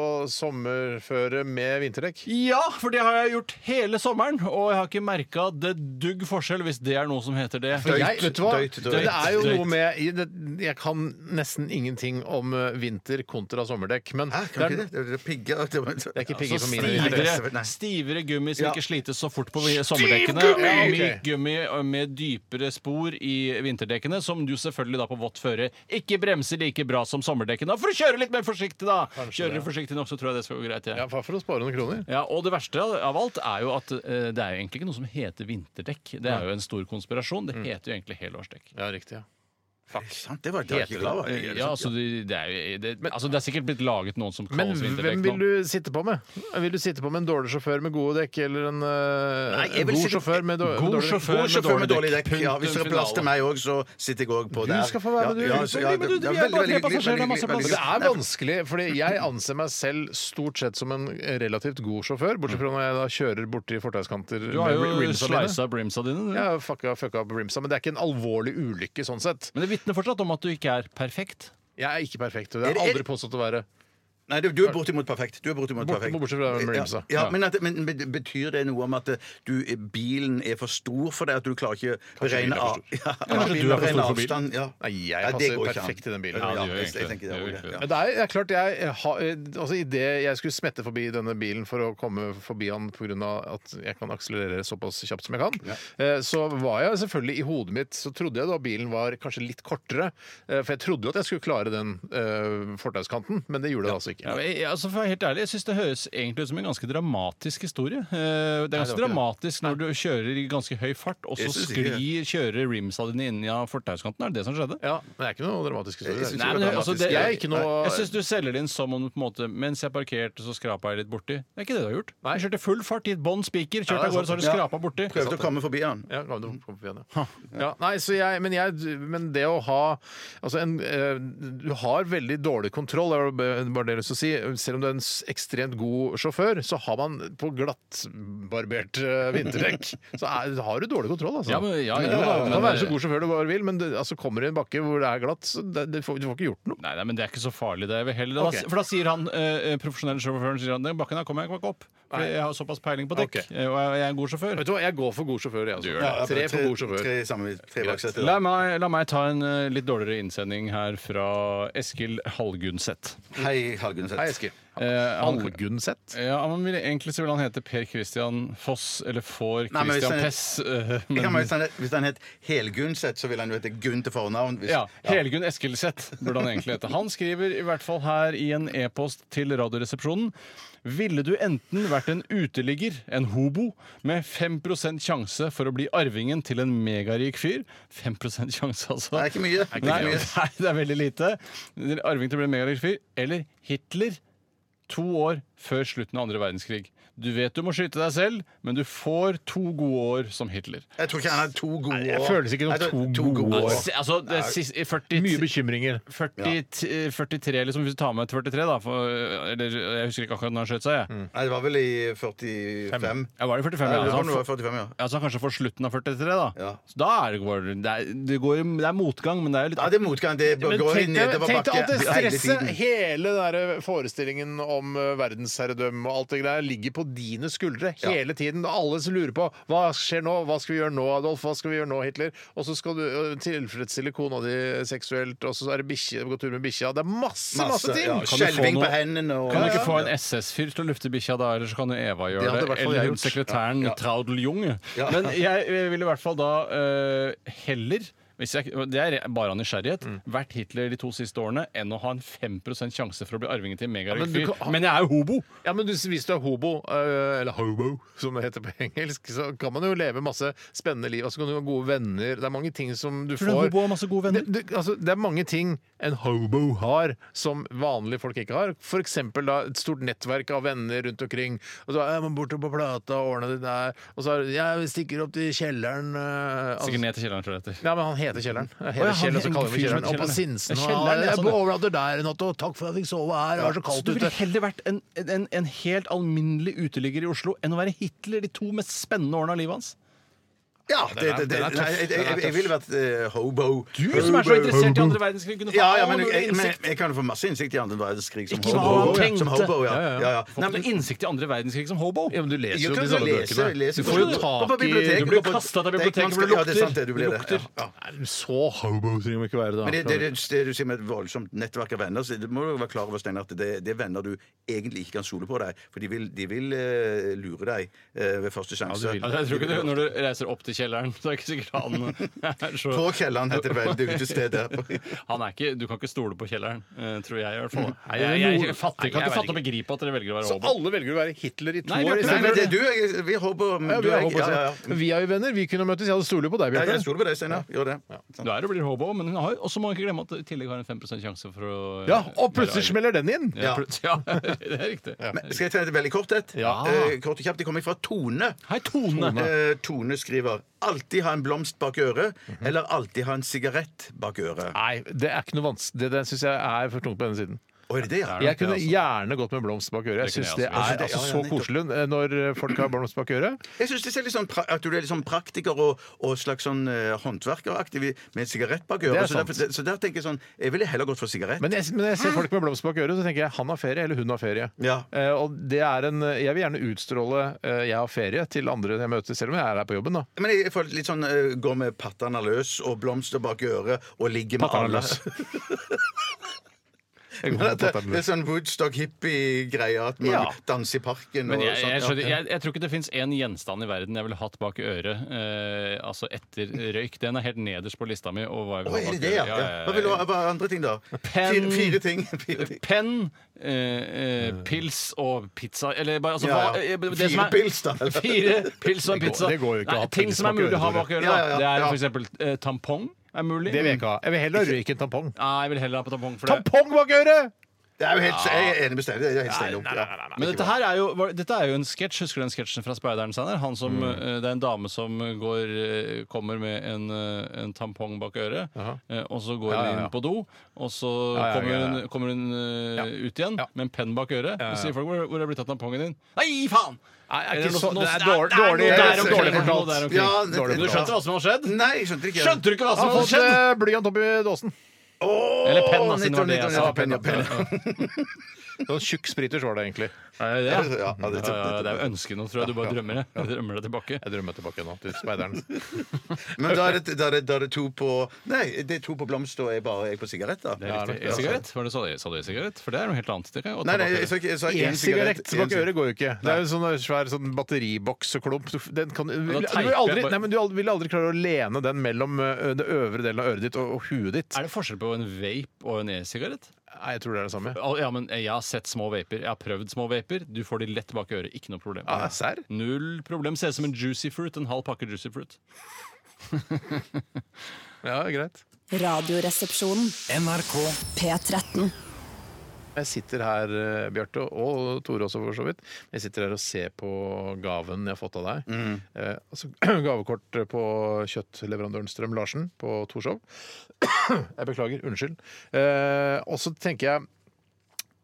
B: sommerføre med vinterdekk?
C: Ja, for det har jeg gjort hele sommeren, og jeg har ikke merka det dugg forskjell, hvis det er noe som heter det.
B: For jeg,
D: Døyt,
B: vet du hva?
D: døyt, døyt,
B: det er jo
C: døyt.
B: noe med i det- Jeg kan nesten ingenting om eh, vinter kontra sommerdekk, men
D: Hæ,
B: det
D: kan
B: er
D: ikke det? Det er pigger. Det var-
B: Det er ikke
C: Så
B: pigger på mine interesser.
C: stivere,
D: Nei.
C: stivere gummi som
D: Ja.
C: ikke slites så fort på sommerdekkene. Ja,
B: gummi!
C: myk gummi med dypere spor i vinterdekkene, som du selvfølgelig da på vått føre ikke bremser like bra som sommerdekkene. Da får du kjøre litt mer forsiktig, da! Kjører du forsiktig nok, så tror jeg det skal gå greit.
B: Ja,
C: Ja.
B: hva for å spare noen kroner.
C: Ja, og det verste av alt er jo at eh, det er jo egentlig ikke noe som heter vinterdekk. Det er jo en stor konspirasjon. Det
B: Mm.
C: heter jo egentlig helårsdekk.
B: Ja, riktig. Ja.
D: Sant, det var jeg ikke klar over. Jeg er
C: Ja, altså, det, det, er, jo- det, altså, det er sikkert blitt laget noen som
B: Men
C: kalles
B: hvem
C: vinterdekk
B: vil
C: nå.
B: du sitte på med? Vil du sitte på med en dårlig sjåfør med gode dekk, eller en eh,
D: Nei, jeg vil
B: god
D: sikkert-
B: sjåfør med, dår- med
C: God
B: dårlig dekk?
C: sjåfør
D: God sjåfør med dårlig dekk. Ja,
C: Punktum
D: hvis det er plass til
C: finale.
D: meg òg, så sitter jeg òg på
B: Du
D: der.
B: skal få være med, du.
D: Ja, ja, så- ja,
C: Men du,
D: det-
C: vi
D: ja,
C: er bare
D: veldig,
C: tre
D: veldig hyggelig,
C: passasjerer, det er masse
D: veldig
B: Men
D: hyggelig.
B: det er vanskelig, fordi jeg anser meg selv stort sett som en relativt god sjåfør, bortsett fra når jeg da kjører borti fortauskanter
C: Du har
B: med
C: jo
B: rimsa mine.
C: slisa brimsa dine. Du.
B: Jeg har fucka, fucka opp rimsa, men det er ikke en alvorlig ulykke sånn sett.
C: Men det vitner fortsatt om at du ikke er perfekt.
B: Jeg er ikke perfekt, og det har
D: Er
B: jeg
D: det-
B: aldri påstått å være.
D: Nei, du, du er bortimot perfekt. Du er bortimot
B: Bort-
D: perfekt.
B: bortsett fra den rimsa.
D: Ja, ja, men, at, men bet- betyr det noe om at eh, du, bilen er for stor for deg? At du klarer ikke å beregne av ja,
C: kanskje
D: bilen
C: du er for stor
D: beregne
C: for bilen.
D: avstand, Ja.
B: Nei, jeg
D: Ja, det
B: passer
D: går ikke an.
B: perfekt i den bilen.
D: Ja,
C: Ja, det gjør
D: jeg,
C: egentlig
D: jeg
C: det.
D: tenker det
C: Det
D: også,
C: gjør
D: ja.
B: Men det er, det er klart jeg, har- altså Idet jeg skulle smette forbi denne bilen for å komme forbi han pga. at jeg kan akselerere såpass kjapt som jeg kan, eh, så var jeg selvfølgelig i hodet mitt Så trodde jeg da bilen var kanskje litt kortere. eh, For jeg trodde jo at jeg skulle klare den eh, fortauskanten, men det gjorde det altså ikke.
C: Ja, men jeg, altså for å være helt ærlig, jeg syns det høres egentlig ut som en ganske dramatisk historie. Eh, Det er ganske
B: det var ikke
C: dramatisk når du kjører i ganske høy fart, og så
D: Jeg synes ikke
C: sklir kjører rimsa dine inn i fortauskanten. Er det det som skjedde?
B: Ja, men det er ikke noe dramatisk historie.
D: synes
B: Nei,
D: jo
B: men
D: det er
B: altså,
D: dramatisk.
B: det- jeg er ikke noe
C: Jeg syns du selger det inn som om du på en måte Mens jeg parkerte, så skrapa jeg litt borti. Det er ikke det du har gjort.
B: Nei.
C: Du kjørte full fart, gitt bånn spiker,
B: Ja,
C: kjørte
B: det er
C: av gårde, så har du
D: sant.
C: skrapa borti.
D: Prøvde å komme forbi han.
B: Ja, ja, du kom på igjen, ja. ja nei, så jeg, men, jeg, men det å ha altså en, eh, Du har veldig dårlig kontroll, det var det- bare det jeg har lyst til å si. Selv om du er en s- ekstremt god sjåfør, så har man på glattbarbert eh, vinterdekk Så er, har du dårlig kontroll, altså.
C: Ja, men- ja,
B: du
C: jo da,
B: kan
C: men-
B: være så god sjåfør du bare vil, men det, altså, kommer du i en bakke hvor det er glatt, så det, det får, du får ikke gjort noe.
C: Nei, nei, men det er ikke så farlig. det er vel heller. Da,
B: Ok.
C: For da sier han eh, profesjonelle sjåføren sier han, den bakken her kommer jeg ikke opp. For jeg har såpass peiling på dekk,
B: Ok.
C: eh, og jeg jeg er en god sjåfør.
B: Vet du hva, jeg går for god sjåfør, jeg. Altså.
D: Ja,
B: Tre for god sjåfør.
D: Tre, samme, tre baksetter.
C: La meg, la meg ta en eh, litt dårligere innsending her fra Eskil Hallgunset.
D: Hei, Halgunset.
B: Hei, Eskil.
C: Eh, han- Eh,
B: Algunset?
C: ja, han vil, egentlig så vil han hete Per Christian Foss eller Får
D: Nei, men hvis
C: Christian
D: han-
C: Pess. eh,
D: Jeg
C: men-
D: kan bare- Hvis han, het- hvis han het Helgunset, så ville han jo hete Gunn til fornavn. Hvis,
C: Ja, Helgunn Eskilseth burde han egentlig hete. Han skriver i hvert fall her i en e-post til Radioresepsjonen. Ville du enten vært en uteligger, en hobo, med 5 sjanse for å bli arvingen til en megarik fyr? 5 sjanse, altså.
D: Det er ikke mye. Det er ikke
C: Nei,
D: mye.
C: nei, det er veldig lite. Arving til å bli en megarik fyr. Eller Hitler. To år før slutten av andre verdenskrig. Du vet du må skyte deg selv, men du får to gode år som Hitler.
D: Jeg tror ikke han har to gode år.
B: jeg føles ikke som
D: Nei, det-
B: to gode
D: gode
B: år.
D: år.
C: Altså, det er sist- i 40
B: Mye bekymringer.
C: 40, eh, 43, liksom, hvis du tar med 43, da for, Eller jeg husker ikke akkurat når han skjøt seg. Jeg.
D: Nei, det var vel i 45.
C: Ja, var det 45?
D: Mm.
C: Ja,
D: Ja, det
C: så
D: var
C: han
D: noe av
C: får-
D: 45, ja.
C: altså. ja, så han kanskje får slutten av 43, da.
D: Ja.
C: Så da er det, går, det, er, det, går, det er motgang, men det er jo litt
D: Ja, det er motgang. Det
B: Men
D: går i
B: tenk deg,
D: nedoverbakke
B: tenk deg alt det
D: hele
B: stresset,
D: tiden.
B: hele den der forestillingen om eh, verdensherredømme og alt det der, ligger på dine skuldre hele tiden. Og Alle som lurer på hva skjer nå, hva skal vi gjøre nå, Adolf, hva skal vi gjøre nå, Hitler? Og så skal du eh, tilfredsstille kona di seksuelt, og så er det bikkje, gå tur med bikkja. Det er masse, masse, ting!
D: ja,
C: Kan du få
D: Skjelving
C: noe-
D: på hendene og
C: Kan du ikke få en SS-fyr til å lufte bikkja da, eller så kan jo Eva
B: Det
C: gjøre
B: hadde
C: det?
B: i hvert fall jeg
C: Eller hun
B: gjort.
C: sekretæren Traudel Jung. Men jeg eh, ville i hvert fall da eh, heller hvis jeg, det er bare av nysgjerrighet.
B: Mm.
C: Vært Hitler de to siste årene enn å ha en 5 sjanse for å bli arvingen til en
B: Ja,
C: megarik
B: men du
C: fyr.
B: kan-
C: Men jeg er jo hobo!
B: Ja, men du, Hvis du er hobo, eh, eller hobo, som det heter på engelsk, så kan man jo leve masse spennende liv. Altså, kan du ha gode venner. Det er mange ting som du
C: Tror du en
B: får
C: hobo har masse gode venner?
B: Det, det, altså, det er mange ting en hobo har, som vanlige folk ikke har. For eksempel da, et stort nettverk av venner rundt omkring. Og så er man borte på Plata og ordna det der. Og så er det, jeg stikker opp til kjelleren eh, altså-
C: Sikkert ned til kjelleren, tror jeg. det heter.
B: ja, men han heter Kjelleren.
C: Å,
B: Jeg
C: ja,
B: heter
C: han
B: Kjell, og så
C: heter
B: kaller vi
C: fyren som
B: Kjelleren.
C: heter
B: Og på
C: Kjelleren. Ja,
B: Sinsen. og
C: Kjelleren, ja,
B: Jeg
C: sånn, ja.
B: overnatter der i natt, og takk for at jeg fikk sove her. Det var så
C: Så
B: kaldt
C: du ville
B: ute.
C: heller vært en, en, en helt alminnelig uteligger i Oslo enn å være Hitler de to mest spennende årene av livet hans?
D: Ja,
B: den
D: det,
B: er-
D: det, det,
B: den er tøff.
D: nei, jeg, jeg,
B: Den er
D: jeg ville vært eh, hobo.
C: Du som er så interessert i andre verdenskrig, kunne få
D: Ja, ja,
C: all
D: men
C: mulig
D: jeg, men
C: innsikt.
D: jeg kan jo få masse innsikt i andre verdenskrig som
C: Ikke
D: hobo.
C: hva han
D: ja. Som
C: tenkte.
D: hobo, ja. ja, ja.
C: Får
D: Nei,
C: ikke
D: men,
C: du innsikt i andre verdenskrig som hobo?
B: Ja, men du leser
D: jeg
B: jo
D: kan
B: disse
D: jo
B: alle
D: lese,
B: bøkene.
D: lese
B: Du får jo
D: på-
B: tak
D: på
B: i
D: biblioteket.
C: Du blir kastet av
D: Det
C: biblioteket,
D: er ikke-
C: for det
D: Ja, det er sant,
C: lukter.
D: det. Du blir
C: Det
D: det.
C: lukter.
D: Ja, ja.
B: Nei, Så hobo trenger man ikke være, da.
D: Men det, det, det, det du sier med et voldsomt nettverk av venner, så det må du være klar over, Steinar, at det, det er venner du egentlig ikke kan stole på deg. For de vil, de vil eh, lure deg eh, ved første sjanse.
C: Ja, jeg tror ikke det, Når du reiser opp til kjelleren, så er det ikke sikkert han er så
D: På kjelleren heter det vel det utestedet.
C: Han er ikke, Du kan ikke stole på kjelleren, eh, tror jeg i hvert
D: Mm.
C: fall.
B: Nei, det er
C: Jeg, jeg,
B: noe-
C: fatter,
B: Nei,
C: kan
B: jeg
C: ikke
B: vet
C: fatte og begripe at dere velger å være
B: Så
C: hobo.
B: alle velger å være Hitler i to
C: Nei,
B: år?
C: Bjarte,
B: i
D: Nei,
B: stedet
D: men
B: for-
D: det, du, er- vi håper men
B: Ja,
D: du
B: vi
D: er-
B: er hobo
D: ja, ja, ja.
B: sammen. Vi er jo venner. Vi kunne møttes. Jeg hadde stoler på deg,
D: Ja, jeg
B: Bjarte.
D: stoler på deg, Steinar. Gjør det.
C: Du er og blir hobo, men hun har, og så må man ikke glemme at du i tillegg har en 5 sjanse for å
B: Ja, og plutselig smeller den inn!
C: ja. plut- ja, det er riktig.
D: Men Skal jeg ta et veldig kort et?
B: Ja.
D: Eh, kort og kjapt. Det kommer fra Tone.
C: Hei, Tone!
D: Eh, Tone skriver alltid ha en blomst bak øret, eller alltid ha en sigarett bak øret.
B: Nei, det er ikke noe vanskelig. Det, det syns jeg er for tungt på denne siden.
D: Å, er det det, ja?
B: Jeg kunne
C: det, altså.
B: gjerne gått med blomst bak øret. Jeg
C: Det kunne
B: syns
C: jeg
B: det
C: også.
B: er altså så koselig eh, når folk har blomst bak øret.
D: Jeg syns det ser litt sånn pra at du er litt sånn praktiker og, og slags sånn eh, håndverkeraktig med en sigarett bak
B: Det er
D: øret. Så,
B: sant.
D: derfor- så der tenker jeg sånn Jeg ville heller gått for sigarett.
B: Men jeg, men jeg ser folk med blomst bak øret, så tenker jeg han har ferie, eller hun har ferie.
D: Ja.
B: Eh, og det er en, jeg vil gjerne utstråle eh, jeg har ferie til andre jeg møter, selv om jeg er her på jobben. da.
D: Men jeg føler litt sånn uh, går med pattene løs og blomster bak øret og ligger med alle.
B: Pattene løs.
D: Men at det, det er sånn Woodstock-hippie-greie at man
B: Ja.
D: danser i parken
C: Men
D: og
C: jeg, jeg,
D: sånn.
C: skjønner, jeg, jeg tror ikke det fins én gjenstand i verden jeg ville hatt bak øret eh, altså etter røyk. Den er helt nederst på lista mi. Og hva jeg
D: Å,
C: vil ha
D: er det
C: bak
D: det, ja?
C: øret.
D: ja. Hva vil du ha hva er andre ting, da?
C: Pen-
D: Fire, fire ting. Fire ting.
C: Penn, eh, eh, pils og pizza Eller bare altså,
D: Ja, ja.
C: hva- eh, det
D: Fire
C: som er-
D: pils, da.
C: Fire pils og en
B: Det går-
C: pizza.
B: det går jo ikke å
C: Nei,
B: ha
C: ting
B: pils
C: som er
B: bak
C: mulig å ha
B: øret,
C: bak øret.
D: Ja, ja, ja.
C: da.
D: Ja.
C: Det er f.eks. Eh, tampong. Er mulig.
B: Det vil jeg ikke ha. Jeg vil heller ha røyk enn tampong.
C: Nei, jeg vil heller ha på tampong. For det.
B: Tampong bak øret!
D: Det er jo helt, jeg er enig med Steinar. Det er helt steinlugnt, ja.
C: Men dette her er jo, var- dette er jo en sketsj. Husker du den sketsjen fra Speideren? Sander? Han som,
B: Mm.
C: eh, Det er en dame som går, eh, kommer med en, eh, en tampong bak øret, eh, og så går hun
B: Ja, ja, ja.
C: inn på do, og så
B: Ja, ja,
C: kommer
B: ja, ja.
C: hun, kommer hun eh,
B: Ja.
C: ut igjen
B: Ja.
C: med en penn bak øret,
B: ja.
C: og sier folk 'Hvor hvor er det blitt av tampongen din?' Nei, faen!
B: Nei, er
C: Eller
B: ikke
C: noe
B: så,
C: sånt-
B: det
C: noe-
B: er dårlig,
C: det er
B: dårlig,
C: noe der
D: om-
B: dårlig
D: det er
B: fortalt.
C: noe der omkring.
B: Ja,
D: Ja, det-
B: dårlig
C: Du skjønte hva som har skjedd?
D: Nei, jeg skjønte ikke.
C: Skjønte du ikke hva
B: Han
C: som
B: har
C: har
B: fått
C: skjedd?
B: eh, blyant oppi dåsen.
D: Åh,
C: Eller penna, siden det var
D: nettopp,
C: det jeg
D: nettopp,
C: sa.
D: nettopp, penna, penna.
B: Sånn tjukk spriters var det egentlig.
C: Er det det?
D: Ja, ja, det er sant,
C: Ja, ja, det er
D: det er
C: jo ønsket nå, tror jeg. Du bare drømmer det. Du drømmer det tilbake.
B: Jeg drømmer tilbake nå til speideren.
D: Men da er, det, da, er det, da er det to på Nei, det er to på blomst og jeg bare er på sigarett, da.
C: Det er riktig. E-sigarett? Var det Sa du- sa du e-sigarett? For det er noe helt annet. Det kan jeg godt
D: Nei,
C: ta
D: nei,
C: bak
D: jeg
C: øret.
D: sa ikke jeg sa én
B: Én sigarett
D: én
B: bak
D: sig-
B: øret går jo ikke. Det er jo en sånn svær sånn batteribokseklump. Du- Den kan, du, vil- du, vil
C: teiper jeg
B: aldri,
C: bare-
B: nei, men du al- vil aldri klare å lene den mellom ø, det øvre delen av øret ditt og, og huet ditt.
C: Er det forskjell på en vape og en e-sigarett?
B: Nei, jeg tror det er det samme.
C: Al- Ja, men eh, Jeg har sett små vaper. Jeg har prøvd små vaper. Du får de lett bak øret. Ikke noe problem.
D: Ah,
B: Ja, serr?
C: Null problem. Ser ut som en juicy fruit. En halv pakke juicy fruit.
B: Ja, greit.
E: Radioresepsjonen.
G: NRK
E: P13.
B: Jeg sitter her, eh, Bjarte, og Tore også for så vidt. Jeg sitter her og ser på gaven jeg har fått av deg. Eh, altså, gavekort på kjøttleverandøren Strøm-Larsen på Torshov. jeg beklager. Unnskyld. Eh, og så tenker jeg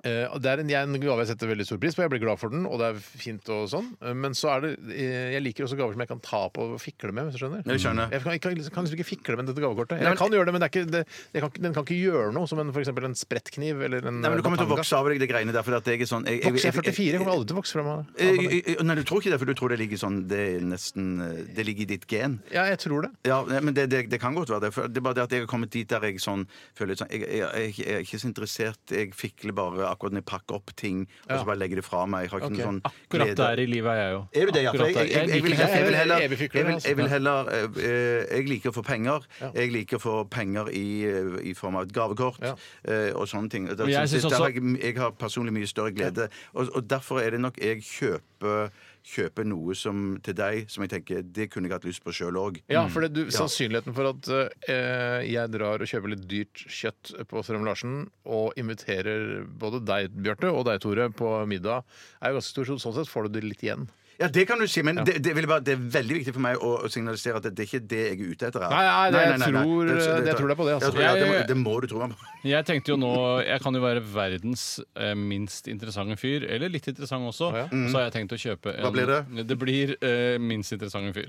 B: eh, og det er en, jeg- en gave jeg setter veldig stor pris på. Jeg blir glad for den, og det er fint og sånn. Eh, Men så er det eh, Jeg liker også gaver som jeg kan ta på og fikle med, hvis du skjønner.
D: Jeg skjønner.
B: Jeg kan, jeg kan, liksom- kan liksom ikke fikle med dette gavekortet. Eller jeg kan gjøre det, men det er ikke, det, jeg kan, ikke- den kan ikke gjøre noe, som en, for eksempel en sprettkniv eller en
D: Nei, men Du kommer til å
B: batanga.
D: vokse av deg de greiene der. For at jeg er sånn jeg,
B: Vokser jeg 44, kommer aldri til å vokse frem av
D: Eh,
B: av det.
D: eh, eh, Nei, du tror ikke det, for du tror det ligger sånn Det er nesten eh, Det ligger i ditt gen.
B: Ja, jeg tror det.
D: Ja, nei, men det, det, det kan godt være det. For det er bare det at jeg har kommet dit der jeg sånn føler litt sånn Jeg, jeg, jeg, jeg er ikke så interessert. Jeg fikler bare akkurat når jeg pakker opp ting, og så bare legger det fra meg. Jeg har ikke
B: Ok.
D: noe sånn
C: Akkurat der i livet er jeg jo.
D: Er du det, ja? For
C: Akkurat
D: jeg,
C: der.
D: jeg, jeg, jeg, vil,
C: liker det.
D: jeg vil heller
B: Evig
D: Jeg,
B: fykler,
D: vil,
B: altså.
D: jeg, vil heller eh, eh, jeg liker å få penger. Jeg liker å få penger i, eh, i form av et gavekort
B: Ja.
D: eh, og sånne ting. Da,
C: Og jeg
D: synes jeg,
C: synes
D: der
C: også-
D: har jeg, jeg har personlig mye større glede. Og, og derfor er det nok jeg kjøper, kjøper noe som, til deg som jeg tenker det kunne jeg hatt lyst på sjøl òg.
B: Ja, for det, du, Sannsynligheten for at eh, jeg drar og kjøper litt dyrt kjøtt på Strøm-Larsen og inviterer både deg, Bjarte, og deg, Tore, på middag, er jo ganske stor. så Sånn sett får du det litt igjen.
D: Ja, det kan du si, men det, det, vil jeg bare, det er veldig viktig for meg å, å signalisere at det, det er ikke det jeg er ute etter. her.
C: Nei, nei, det- jeg tror-
B: jeg tror det er på det, altså.
D: Jeg tror- ja, det, må,
C: Jeg-
D: det må du tro. meg på.
C: Jeg tenkte jo nå Jeg kan jo være verdens eh, minst interessante fyr. Eller litt interessant også. Så har jeg tenkt å kjøpe en
D: Ah, Mm. Hva blir det?
C: Det blir eh, minst interessante fyr.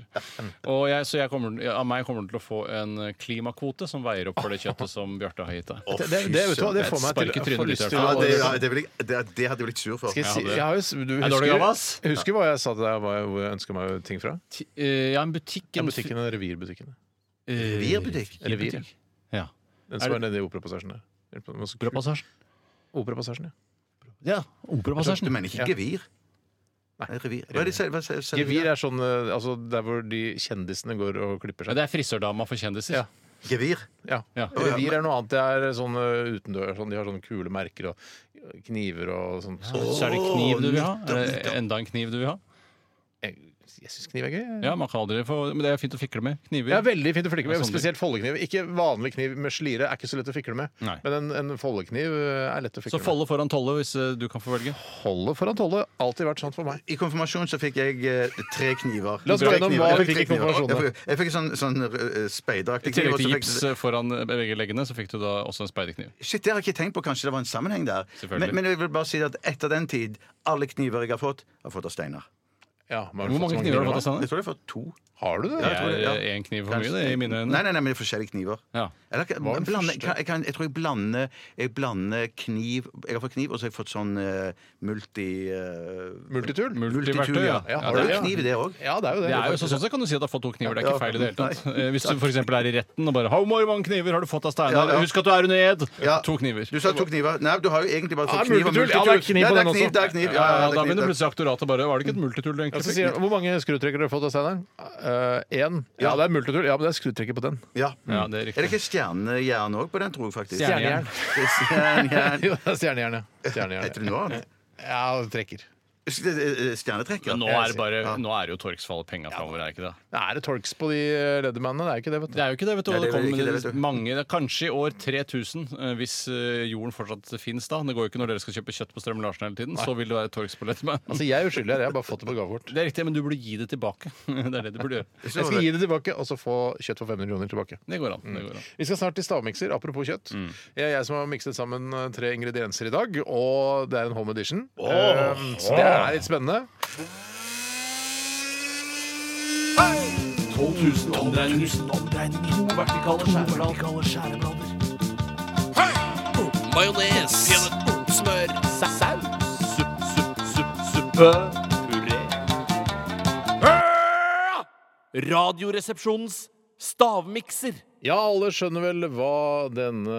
C: Og jeg, så jeg kommer, ja, av meg kommer du til å få en klimakvote som veier opp for det kjøttet som Bjarte har gitt deg.
B: Det, det, det, vet du, hva, det
C: Jeg
B: får meg
C: sparker
B: til å
C: trynet
B: få
C: ditt,
B: lyst til
D: Ja,
B: å
D: det, ja, det, vil jeg, det, det hadde jeg blitt sur for.
B: Skal jeg si,
C: Ja, det-
B: jeg har jo, s- du
C: Er det dårlig gammel, ass?
B: husker, husker hva jeg sa til deg hva jeg, hvor jeg ønska meg ting fra?
C: Ti- eh, ja, en butikk.
B: Ja,
C: En
B: butikken, den Revirbutikken.
C: fi- eh,
D: Revirbutikk?
C: Revirbutikk. Ja.
B: Den
C: Er
B: som
C: det-
B: er nede i Operapassasjen der.
C: Operapassasjen.
B: Operapassasjen, ja.
C: Ja,
D: Du
C: Operapassasjen.
D: mener ikke gevir? Nei, revir. Hva er det, de sier- hva sier- sier-
B: Gevir er sånn eh, altså der hvor de kjendisene går og klipper
C: Ja,
B: seg.
C: det er frisørdama for kjendiser.
B: Ja.
D: Gevir?
B: Ja.
C: Ja.
B: Revir er noe annet. Det er sånn eh, utendørs. Sånn, de har sånne kule merker og kniver og sånn.
C: Så er det kniv du vil ha? Er det enda en kniv du vil ha?
B: Jeg, jeg syns kniv er gøy.
C: Ja, man kan aldri få Men det er fint å fikle med. Kniver.
B: Ja, veldig fint å flikke med.
C: Ja, sånn
B: Spesielt foldekniv. Ikke vanlig kniv med slire er ikke så lett å fikle med.
C: Nei.
B: Men en, en foldekniv eh, er lett å
C: Så
B: fikle
C: folde foran tolle hvis eh, du kan få velge.
B: med. Folde foran tolle. Alltid vært sånn for meg.
D: I konfirmasjon så fikk jeg eh, tre kniver.
B: La oss gå
D: Tre
B: gjennom
D: kniver.
B: hva
D: Jeg
B: vi
D: fikk
B: fikk i
D: tre kniver.
B: konfirmasjonen.
D: Jeg fikk- Jeg fikk en sånn, sånn eh, speideraktig
C: I tillegg
D: og så
C: til
D: fikk-
C: gips eh, foran begge leggene, så fikk du da også en speiderkniv.
D: Shit, det har jeg ikke tenkt på. Kanskje det var en sammenheng der.
C: Selvfølgelig.
D: Men, men jeg vil bare si at etter den tid, alle kniver jeg har fått, har jeg fått av Steinar.
B: Ja,
C: Hvor
B: men fått så
C: mange kniver har du fått av Steinar?
D: Jeg tror jeg har fått to.
B: Har du det?
C: Det
D: tror det, ja.
C: er én kniv for mye, det, i mine
D: Nei,
C: øyne.
D: nei, nei, men det er forskjellige kniver.
C: Ja.
D: Eller, jeg,
B: Hva var den
D: blander,
B: første?
D: kan, jeg, kan, jeg tror jeg blander, jeg blander kniv Jeg har fått kniv, og så har jeg fått sånn eh, multi... eh,
B: Multitool?
C: Multiverktøy, ja.
B: Ja,
C: Ja,
B: har
D: det er
B: du det?
D: jo kniv i det òg.
B: Ja, det er jo det.
C: Det er jo så, sånn sett kan du si at du har fått to kniver. Det er
D: Ja.
C: ikke feil i det hele tatt. Eh, Hvis du f.eks. er i retten og bare 'How more, mange kniver har du fått av Steinar?'
D: Ja, ja.
C: Husk at du er under ed!
D: Ja.
C: To kniver.
D: Du sa to kniver. Nei, du har jo egentlig bare
B: Ja,
D: to kniver.
B: multitool. Ja, det er kniv på
D: Ja, det
B: den
D: er kniv,
B: også.
D: det er kniv.
C: Ja,
D: Ja, ja, det
C: da
D: er kniv,
C: begynner
D: det er-
C: plutselig aktoratet bare 'Var det ikke et multitull du
B: Ja,
C: egentlig
B: så sier
C: fikk?'
B: han, Hvor mange skrutrekkere har du fått av Steinar? Eh, Én. ja, det er multitool. Ja, men det er skrutrekker på den.
D: Ja.
C: Ja, det er
D: Mm. Er det
C: riktig.
D: ikke stjernejern òg på den, tror jeg faktisk?
C: Stjernejern.
D: Stjernejern.
B: Jo, det er Stjernejern, ja. Stjernejern,
D: Heter det noe annet?
B: ja. Ja, trekker.
D: eh, Stjernetrekker?
C: Men nå er det bare Nå er det jo Torgsfall penga framover, er det ikke det?
B: Nei, Er det torks på de eh, leddemannene? Det er jo ikke det, vet du.
C: Det er jo ikke det, vet du.
D: Nei, det
C: det
D: er vel
C: kommer
D: ikke det, vet du.
C: mange, det er kanskje i år 3000, eh, hvis eh, jorden fortsatt fins da. Det går jo ikke når dere skal kjøpe kjøtt på Strøm Larsen hele tiden. Så vil det være Torgs på Letterman.
B: Altså, Jeg er uskyldig her. Jeg har bare fått det på gavekort.
C: Det er riktig, men du burde gi det tilbake. Det er det du burde gjøre.
B: Jeg skal gi det tilbake, og så få kjøtt for 500 kroner tilbake.
C: Det går an. Det går an.
B: Vi skal snart til stavmikser. Apropos kjøtt. Det er jeg som har mikset sammen eh, tre ingredienser i dag, og det er en home edition. Eh, Så det er litt spennende.
I: 12 000 omdreininger. To vertikale skjæreblader.
H: Majones. Smør.
I: Saus. Supp, supp, supp, suppe. Puré. Radioresepsjonens stavmikser.
B: Ja, alle skjønner vel hva denne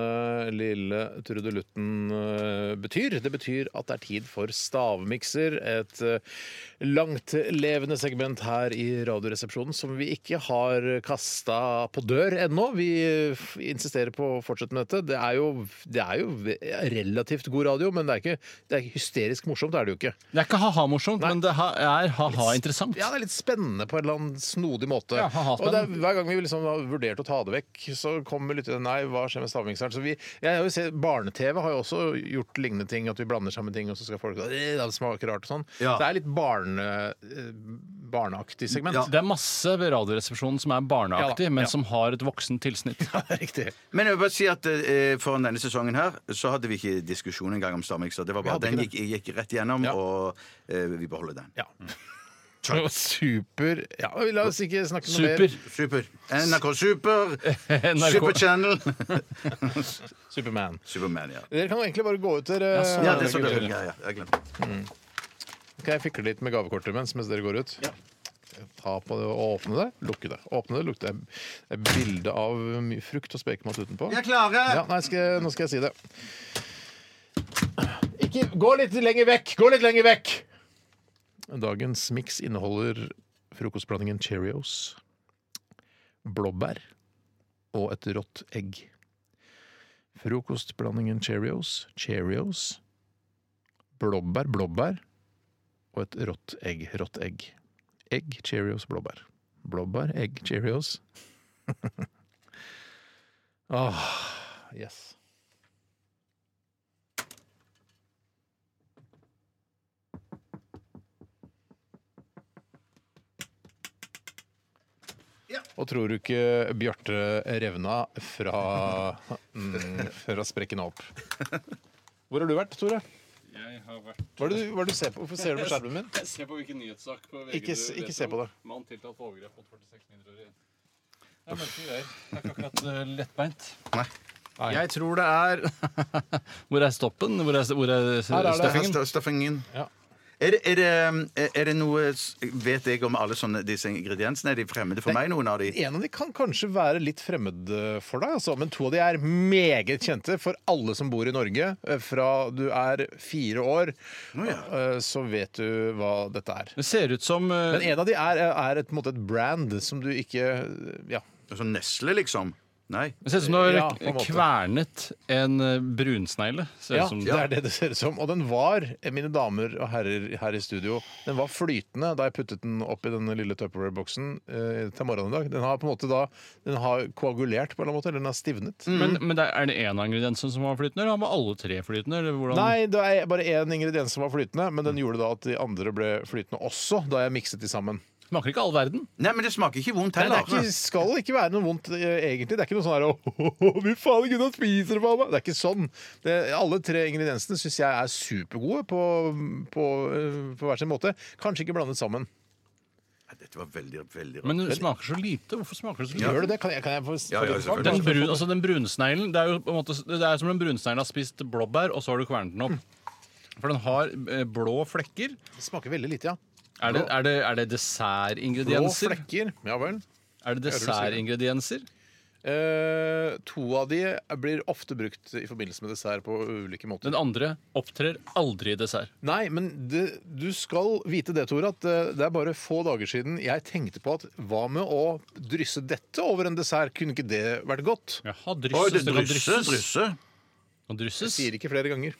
B: lille trudelutten eh, betyr. Det betyr at det er tid for stavmikser. Et eh, langtlevende segment her i Radioresepsjonen som vi ikke har kasta på dør ennå. Vi eh, f- insisterer på å fortsette med dette. Det er jo, det er jo ve- relativt god radio, men det er ikke det er ikke hysterisk morsomt. Det er det jo ikke.
C: Det er ikke ha-ha-morsomt, men det ha- er ha-ha-interessant.
B: Ja, det er litt spennende på en eller annen snodig måte.
C: Ja, ha-ha,
B: og det er,
C: spennende.
B: hver gang vi liksom har vurdert å ta det vekk, så kommer lytterne Nei, hva skjer med stavmikseren? Så vi, jeg har jo sett, Barne-TV har jo også gjort lignende ting, at vi blander sammen ting, og så skal folk «Øh, Det smaker rart og sånn.
D: Ja.
B: Så det er litt barne, eh, barneaktig segment.
D: Ja.
C: Det er masse ved Radioresepsjonen som er barneaktig,
B: Ja da,
C: men
B: ja.
C: som har et voksent tilsnitt.
B: Riktig.
D: Men jeg vil bare si at eh, foran denne sesongen her så hadde vi ikke diskusjon engang om stavmikser. Det var bare
B: Vi hadde
D: den
B: ikke
D: gikk, gikk rett igjennom,
B: Ja.
D: og eh, vi beholder den.
B: Ja. Super Ja, la oss ikke snakke noe mer.
C: Super.
D: Super. NRK Super.
C: NRK.
D: Super Channel.
B: Superman.
D: Superman, ja.
B: Dere kan jo egentlig bare gå ut, dere.
C: sånn.
D: Ja, det er så dødt. Ja, ja, jeg glemte.
B: Kan jeg fikle litt med gavekortet mens, mens dere går ut? Ta på det og åpne det. Lukke det. Åpne det, lukke det. Det er bilde av mye frukt og spekemat utenpå.
D: Jeg er klare!
B: Ja, nei, skal, nå skal jeg si det. Ikke, gå litt lenger vekk! Gå litt lenger vekk! Dagens miks inneholder frokostblandingen Cheerios, blåbær og et rått egg. Frokostblandingen Cheerios, Cheerios, blåbær, blåbær og et rått egg, rått egg. Egg, Cheerios, blåbær. Blåbær, egg, Cheerios. Åh, yes. Og tror du ikke Bjarte revna fra, mm, fra sprekken opp? Hvor har du vært, Tore?
C: Jeg har vært
B: Hva er det du, hva er det du ser på? Hvorfor ser du på skjermen min?
C: Jeg ser på hvilken nyhetssak på VG
B: Ikke s- ikke se på det.
C: Mann tiltalt for overgrep mot 46 mindreårige. Det er mørke greier. Det er ikke akkurat eh, lettbeint.
D: Nei.
C: Jeg tror det er Hvor er stoppen? Hvor er, hvor er stuffingen?
D: Sta- Staffingen.
B: Ja.
D: Er det, er, det, eh, er det noe s- Vet jeg om alle sånne, disse ingrediensene? Er de fremmede for meg, noen av de?
B: En av de kan kanskje være litt fremmed eh, for deg, altså, men to av de er meget kjente for alle som bor i Norge. Eh, Fra du er fire år, eh, så vet du hva dette er.
C: Det ser ut som eh,
B: Men en av de er, er et, på en måte et brand som du ikke eh, Ja.
D: Sånn Nesle, liksom? Nei.
C: Det ser ut som du har
B: Ja, på en måte.
C: kvernet en eh, brunsnegle. Ser
B: Ja,
C: ut som
B: det er det det ser ut som. Og den var, eh, mine damer og herrer her i studio, den var flytende da jeg puttet den opp i denne lille Tupperware-boksen eh, til morgenen i dag. Den har på en måte da Den har koagulert på en eller annen måte, eller den har stivnet.
C: Men, men det er- er det én av ingrediensene som var flytende, eller har man alle tre flytende? Eller hvordan?
D: Sånn.
B: Nei, det er bare én ingrediens som var flytende, men den gjorde da at de andre ble flytende også, da jeg mikset de sammen.
C: Smaker ikke all verden.
D: Nei, men det smaker ikke vondt
B: Nei, det
D: heller.
B: er ikke, skal ikke være noe vondt, eh, egentlig. Det er ikke noe sånn her «Åh, Fy faen, gutta spiser det, faen meg! Det er ikke sånn. Det, alle tre ingrediensene syns jeg er supergode på, på, eh, på hver sin måte. Kanskje ikke blandet sammen.
D: Nei, Dette var veldig, veldig rart.
C: Men det smaker så lite. Hvorfor smaker det så lite?
B: Gjør det det? Kan jeg, kan jeg få
D: Ja, ja, selvfølgelig.
C: Den, brun,
B: sånn.
C: altså den brunsneglen Det er jo på en måte Det er som om brunsneglen har spist blåbær, og så har du kvernet den opp. For den har eh, blå flekker.
B: Det smaker veldig lite, ja.
C: Er det, er det, er det
B: Blå
C: dessertingredienser?
B: flekker. Ja vel.
C: Er det dessertingredienser?
B: Eh, to av de blir ofte brukt i forbindelse med dessert på ulike måter.
C: Den andre opptrer aldri i dessert.
B: Nei, men det, du skal vite det, Tore, at eh, det er bare få dager siden jeg tenkte på at hva med å drysse dette over en dessert? Kunne ikke det vært godt?
C: Jaha,
D: Oi,
C: drysses.
D: det
C: Det kan
D: drysse,
C: drysses.
D: drysse.
C: Kan
B: Jeg
C: drysses.
B: sier ikke flere ganger.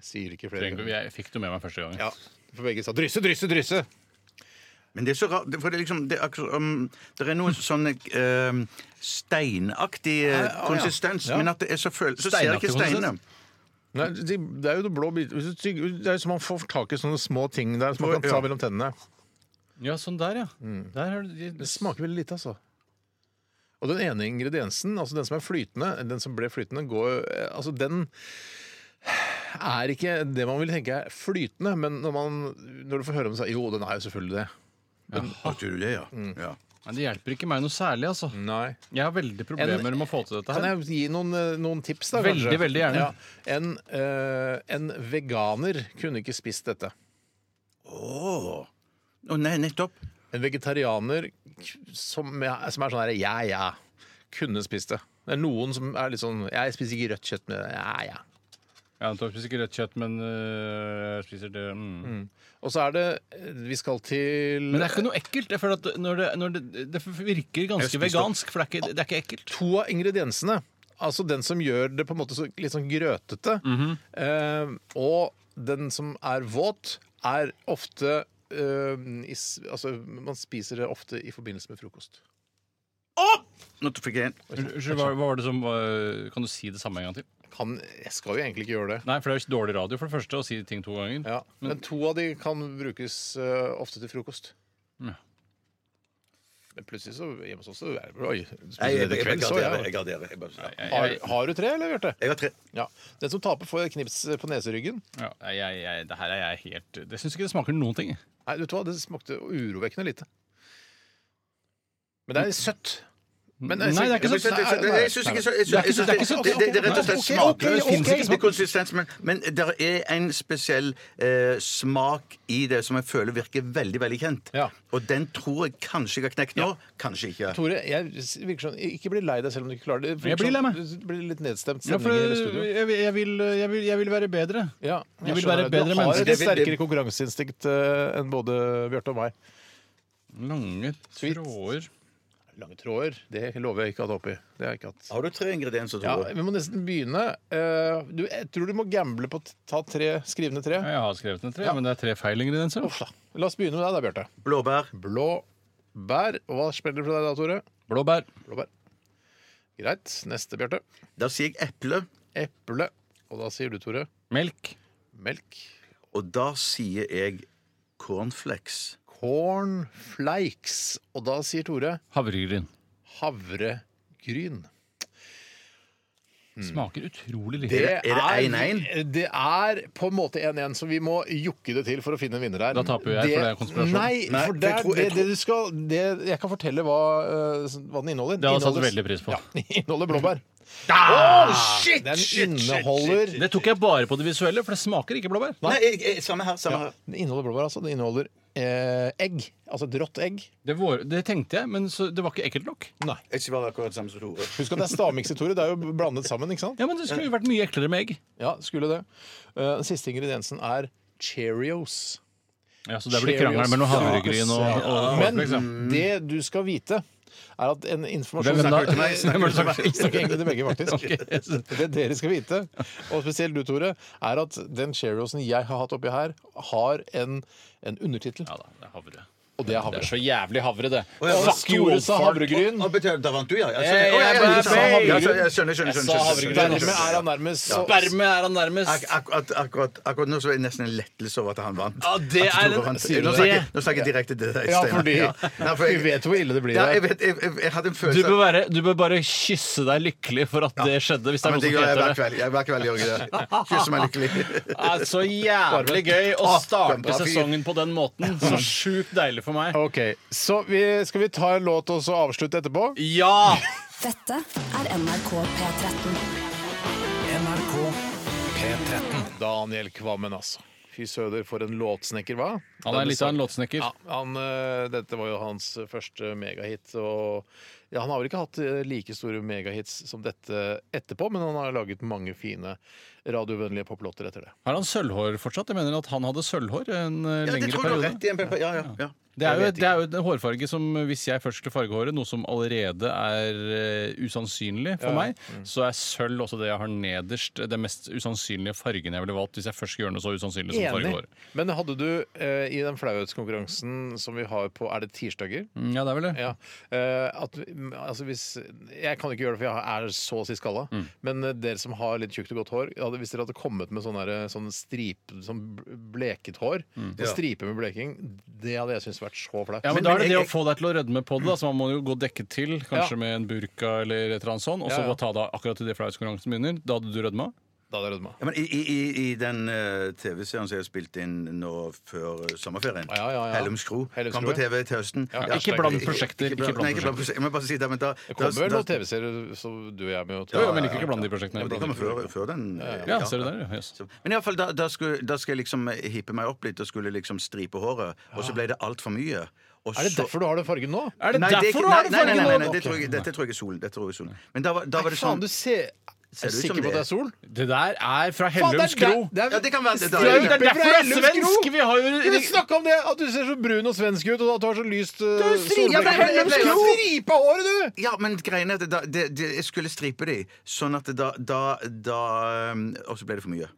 B: Jeg sier ikke flere ganger.
C: Jeg fikk det med meg første gangen.
B: Ja, for begge sa drysse, drysse, drysse.
D: Men det er så rart, det- for det er liksom Det er, akkurat som- det er noe sånn eh, steinaktig eh,
B: ja.
D: konsistens,
B: Ja.
D: men at det er så føl... Så ser jeg
C: Steinaktig
D: ikke
C: konsistens?
D: steinene.
B: Nei, de, det er jo det blå bit- hvis du tygger- Det er jo som man får tak i sånne små ting der som man kan ta
D: Ja.
B: mellom tennene.
C: Ja, sånn der, ja.
B: Mm.
C: Der har du
B: Det smaker veldig lite, altså. Og den ene ingrediensen, altså den som er flytende, den som ble flytende, går eh, Altså, den er ikke det man vil tenke er flytende, men når, man, når du får høre om det, så er- jo, den er jo selvfølgelig det.
D: Å, tror du det, ja.
B: Mm.
D: ja.
C: Nei, Det hjelper ikke meg noe særlig, altså.
B: Nei.
C: Jeg har veldig problemer med å få til dette
B: Kan
C: her.
B: jeg gi noen, eh, noen tips, da?
C: Veldig, veldig gjerne.
B: en, eh, en veganer kunne ikke spist dette.
D: Å. Å, nei, nettopp.
B: En vegetarianer k- som, er- som er sånn her ja, ja, kunne spist det. Det er noen som er litt sånn Jeg spiser ikke rødt kjøtt, men ja, ja.
C: Ja, Anton spiser ikke rødt kjøtt, men øh, jeg spiser det mm.
B: Og så er det eh, Vi skal til
C: Men det er ikke noe ekkelt. Jeg føler at når det, når det, det virker ganske vegansk, for det er ikke, det er ikke ekkelt.
B: to av ingrediensene. Altså den som gjør det på en måte så, litt sånn grøtete.
C: Mhm.
B: eh, og den som er våt, er ofte eh, i, s- Altså, man spiser det ofte i forbindelse med frokost.
D: Nå fikk jeg en.
C: Unnskyld, hva, hva var det som var- Kan du si det samme en gang til?
B: Kan, jeg skal jo egentlig ikke gjøre det.
C: Nei, for det er jo ikke dårlig radio for det første å si ting to ganger.
B: Ja, men, to av de kan brukes eh, ofte til frokost.
C: Ja.
B: Men plutselig så hjemme hos oss så er det Oi,
D: Nei,
B: spiser
D: jeg,
B: du
D: jeg,
B: det
D: jeg
B: kveld, så
D: garderer.
B: jeg.
D: Jeg, garderer. jeg, bare, ja.
B: Har, har du tre, eller, Bjarte?
D: jeg har tre.
B: Ja. Den som taper, får et knips på neseryggen.
C: Ja, jeg, jeg, det her er jeg helt Det syns ikke det smaker noen ting.
B: Nei, vet du hva? Det smakte urovekkende lite. Men det er søtt. Men
C: Nei, det er ikke
D: Jeg
C: så-
D: synes- jeg- jeg- jeg synes ikke så- jeg synes-
C: Det er ikke så-
D: jeg synes-
C: det er ikke så-
D: det- det- Det er rett og slett
B: Ok, ok,
D: smakløst.
B: ok.
D: Finnes ikke konsistens, men, men det er en spesiell eh, smak i det som jeg føler virker veldig veldig kjent.
B: Ja.
D: Og den tror jeg kanskje jeg har knekt nå. Kanskje ikke.
B: Tore, jeg virker sånn Ikke bli lei deg selv om du ikke klarer det. det. virker
C: Jeg blir lei meg.
B: sånn- Du blir litt nedstemt
C: Ja, for
B: stemning i hele studio.
C: jeg, jeg, vil, jeg, vil, jeg vil være bedre.
B: Ja,
C: jeg vil
B: skjønner
C: være
B: det.
C: bedre
B: Du har
C: menneske.
B: et litt sterkere konkurranseinstinkt eh, enn både Bjarte og meg.
C: Lange
B: Sweet.
C: tråder.
B: Lange tråder, det lover jeg ikke at oppi. Det har jeg ikke hatt.
D: Har du tre ingredienser,
B: Ja,
D: Tore?
B: vi må nesten begynne. Eh, du, jeg tror du må gamble på å ta tre skrivende
C: Ja,
B: tre.
C: Jeg har skrevet ned tre, men det er tre feil ingredienser.
B: Uff da. La oss begynne med deg da, Bjarte.
D: Blåbær.
B: Blå bær. Hva spiller du for deg da, Tore?
C: Blåbær.
B: Blåbær. Greit. Neste, Bjarte.
D: Da sier jeg eple.
B: Eple. Og da sier du, Tore,
C: Melk.
B: melk.
D: Og da sier jeg cornflakes.
B: Cornflakes. Og da sier Tore
C: Havregryn.
B: havregryn.
C: Smaker utrolig lite.
B: Det
D: det 1-1?
B: Det er på en måte 1-1, så vi må jukke det til for å finne en vinner her.
C: Da taper jo jeg, for det er konspirasjon.
B: Nei,
D: Nei,
B: for
D: for
B: det,
D: jeg
B: er
D: tror-
B: det,
D: jeg
B: det du skal det, Jeg kan fortelle hva, øh, hva den inneholder.
C: Det hadde jeg satt
B: Inneholder-
C: veldig pris på.
B: Ja, inneholder blåbær.
D: Ah!
B: Den inneholder
C: Det tok jeg bare på det visuelle, for det smaker ikke blåbær.
D: Nei, jeg- jeg- samme her. Samme her.
B: Den inneholder blåbær, altså. Den inneholder eh, egg. Altså et rått egg.
C: Det, var, det tenkte jeg, men så, det var ikke ekkelt nok.
D: Jeg skal være akkurat samme som Tore.
B: Husk at det er stavmikset, Tore. Det er jo blandet sammen, ikke sant?
C: Ja, men Det skulle jo vært mye eklere med egg.
B: Ja, skulle det. Eh, Den siste ingrediensen er Cheerios.
C: Ja, Så det blir krangel mellom havregryn og, og liksom.
B: Men det du skal vite, er at en informasjon
C: Hvem da?
B: Snakker til meg,
C: Hvem er det som-
B: Jeg snakker egentlig til begge, faktisk.
C: Ok.
B: Det dere skal vite, og spesielt du, Tore, er at den Cheeriosen jeg har hatt oppi her, har en, en undertittel,
C: Ja da, det er havre.
B: og
C: Det
B: det er
C: er
B: havre.
C: så jævlig havre, det.
B: Fuck you, old fart. havregryn.
D: Å, betyr det- Da vant du, ja. Jeg
C: Hey,
D: skjønner,
C: Eh,
D: Å, ja,
C: jeg
D: ja,
C: bare
D: du sa havregryn.
C: sa
D: Ja, så- jeg skjønner, skjønner,
C: Jeg
D: skjønner,
C: sa
D: skjønner,
C: havregryn.
D: skjønner,
B: Dermed
D: skjønner.
B: er han nærmest så
C: Berme er han nærmest.
D: Ak- Akkurat, akkurat, akkurat nå så er jeg nesten en lettelse over at han vant.
C: Ja, det
D: At
C: er
D: Tore
C: en-
D: vant.
C: sier du det?
D: Nå snakker, nå snakker jeg direkte til deg,
B: Ja,
D: Steinar.
B: fordi
D: Ja. Nei, for
B: vi vet hvor ille det blir.
D: Ja, jeg,
B: der.
D: vet, jeg, jeg, jeg hadde
C: Du
D: en følelse
C: bør, være, du bør bare kysse deg lykkelig for at det skjedde. Hvis det er
D: Ja, men
C: noen
D: det
C: som
D: gjør jeg
C: heter
D: hver
C: det.
D: kveld. Jeg, hver kveld gjør jeg det. Kysser meg lykkelig.
C: er så jævlig gøy å
D: Å, det
C: starte
D: Ah, var bra fyr.
C: sesongen på den måten. Så sjukt deilig for meg.
B: OK. Så vi, skal vi ta en låt og så avslutte etterpå?
C: Ja!
E: Dette er NRK P13.
G: NRK P13.
B: Daniel Kvammen, altså. Fy søder, for en låtsnekker, hva?
C: Han er litt av en låtsnekker.
B: Ja, han, eh, dette var jo hans første megahit. Og ja, han har vel ikke hatt eh, like store megahits som dette etterpå, men han har laget mange fine radiovennlige poplåter etter det.
C: Har han sølvhår fortsatt? Jeg mener at han hadde sølvhår en eh,
D: Ja, det
C: lengre
D: tror jeg du har
C: periode.
D: rett i. en periode. Ja, ja, ja.
C: Det er, jo,
D: Jeg vet
C: det er jo en hårfarge som hvis jeg først skulle farge håret, noe som allerede er eh, usannsynlig for meg, så er sølv også det jeg har nederst, den mest usannsynlige fargen jeg ville valgt hvis jeg først skulle gjøre noe så usannsynlig som å farge håret.
B: Men hadde du eh, i den flauhetskonkurransen som vi har på Er det tirsdager?
C: Mm, Ja, det er vel det.
B: Ja. eh, at, vi- altså hvis, jeg kan ikke gjøre det, for jeg er så å si skalla. Men eh, dere som har litt tjukt og godt hår, hadde, hvis dere hadde kommet med sånn derre- sånn stripe, sånn bl- bleket hår, sånn stripe med bleking, det hadde jeg syntes vært så flaut.
C: Ja, men,
D: Men-
C: Da er det
D: men
C: det
D: jeg-
C: å få deg til å rødme på det. Da. Så Man må jo gå dekket til, kanskje med en burka eller et eller annet sånt. Og så
B: Ja, ja.
C: bare ta deg akkurat til det flauhetskonkurransen begynner. Da hadde du rødma.
B: Da hadde jeg rødma.
D: Ja, men i, i, i- i den eh, TV-serien som jeg har spilt inn nå før eh, sommerferien,
B: Ja, ja, ja.
D: Hellums kro,
B: Hellums
D: kom
B: Kro,
D: på TV til høsten.
B: Ja,
C: ikke bland prosjekter, ikke bland
D: Nei, ikke bland prosjekter. Men bare si det, men da,
B: Det kommer vel
D: da-
B: noen TV-serier som du og jeg med å
C: Jo,
B: ta
C: jo, men ikke bland de prosjektene.
D: Ja, men det kommer før, før den.
C: Ja, ser du der, ja. Yes.
D: Så- Men i alle fall, da, da, skulle, da skal jeg liksom hippe meg opp litt og skulle liksom stripe håret, og så ble det altfor mye. Og
B: Er det
D: så-
B: derfor du har den fargen nå?
C: Er det
D: Nei, det er
C: derfor du
D: ikke-
C: har det
D: nei, nei, nei, nei,
C: fargen
D: nei,
C: nå?
D: det tror jeg, dette tror jeg er solen. Det tror jeg er solen. Men da, var- da var
B: Nei,
D: det
B: faen,
D: sånn
B: du ser
D: ut
B: Er du
D: som
B: sikker på at det
D: det.
B: er sol?
C: Det der er fra Hellums kro.
B: Det er,
D: Ja, det kan være det. Da,
C: Det er jo
B: Stripe
C: derfor
B: fra
C: du er
B: Hellums
C: svensk!
B: kro.
C: Vi har
B: Vi vil
C: jo
B: snakke om det! At du ser så brun og svensk ut, og at du har så lyst uh, solbriller.
D: Ja, men Hellums
B: Du
D: kro!
B: striper håret, du!
D: Ja, men greien er at da, det, det, jeg skulle stripe de, sånn at da, da, da um, Og så ble det for mye.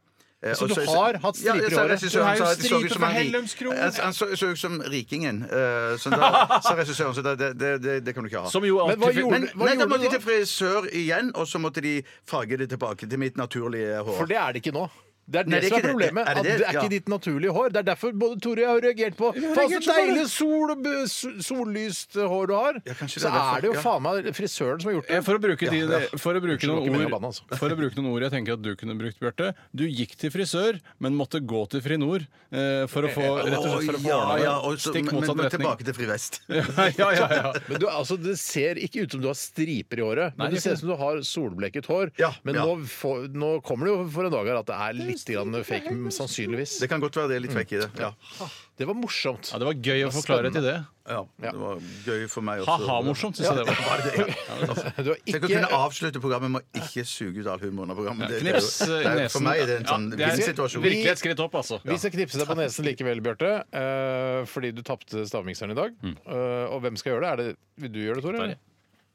D: Eh,
B: Så
D: og
B: du har hatt striper
D: jeg
B: i
D: sa
B: håret?
D: regissøren
C: Du har jo
D: sa at det så ut
C: striper
D: som
C: fra
D: han ri-
C: Hellums kro.
D: Eh, Han så så ut som rikingen. eh, så da sa regissøren så da- det, det, det, det kan du ikke ha.
C: Som jo
B: Men hva
C: alltid
B: gjorde-
D: Men,
B: hva
D: nei, da
B: gjorde
D: måtte
B: du
D: de til frisør igjen, og så måtte de farge det tilbake til mitt naturlige hår.
B: For det er det ikke nå. Det er det,
D: Nei, det er
B: som er
D: ikke det.
B: problemet.
D: Er det
B: at det
D: det?
B: er
D: Ja.
B: ikke ditt naturlige hår. Det er derfor både Tore og jeg har reagert på Faen, så
C: reagert så på
B: deilig sol og bu- s- sollyst hår du har!
D: Ja, kanskje det
B: så
D: er derfor,
B: er det jo
D: ja.
B: faen meg frisøren som har gjort det.
C: Eh, For å bruke, de, For å bruke
B: Unnskyld, det var ikke
C: noen
B: meningen å
C: ord
B: banne, altså.
C: For å bruke noen ord jeg tenker at du kunne brukt, Bjarte. Du gikk til frisør, men måtte gå til Frinor eh, for å få rett og slett for å få
D: ja, ja,
C: ordna
D: og
C: det.
D: så,
C: Stikk
D: men, men
C: motsatt retning.
D: tilbake til Fri Vest.
C: Ja, ja, ja, ja.
B: Men du, altså, Det ser ikke ut som du har striper i håret,
C: Nei,
B: men det
C: det er ikke
B: ser ut som du har solbleket hår.
D: Ja,
B: men
D: ja.
B: Nå, får- nå kommer det jo for en dag her at det er litt grann fake, sannsynligvis.
D: Det kan godt være det er litt vekk i det. Ja.
B: Det var morsomt.
C: Ja, det var gøy å få klarhet i det.
D: Ja, det var gøy for meg også.
C: Ha-ha-morsomt, syns jeg det var.
D: Var det det? Ja.
B: Du har
D: Tenk å
B: ikke
D: kunne avslutte programmet med å ikke suge ut all humoren av programmet. Det- det er jo-
C: Knips eh,
D: det er jo-
C: nesen.
D: For meg er det en
C: Ja,
D: sånn
C: det er
D: vinn-situasjon.
C: Virkelig et skritt opp, altså.
B: Vi skal knipse deg på nesen likevel, Bjarte, eh, fordi du tapte stavmikseren i dag.
C: Mm.
B: Eh, og hvem skal gjøre det? Er det vil du gjøre det, Tore? eller?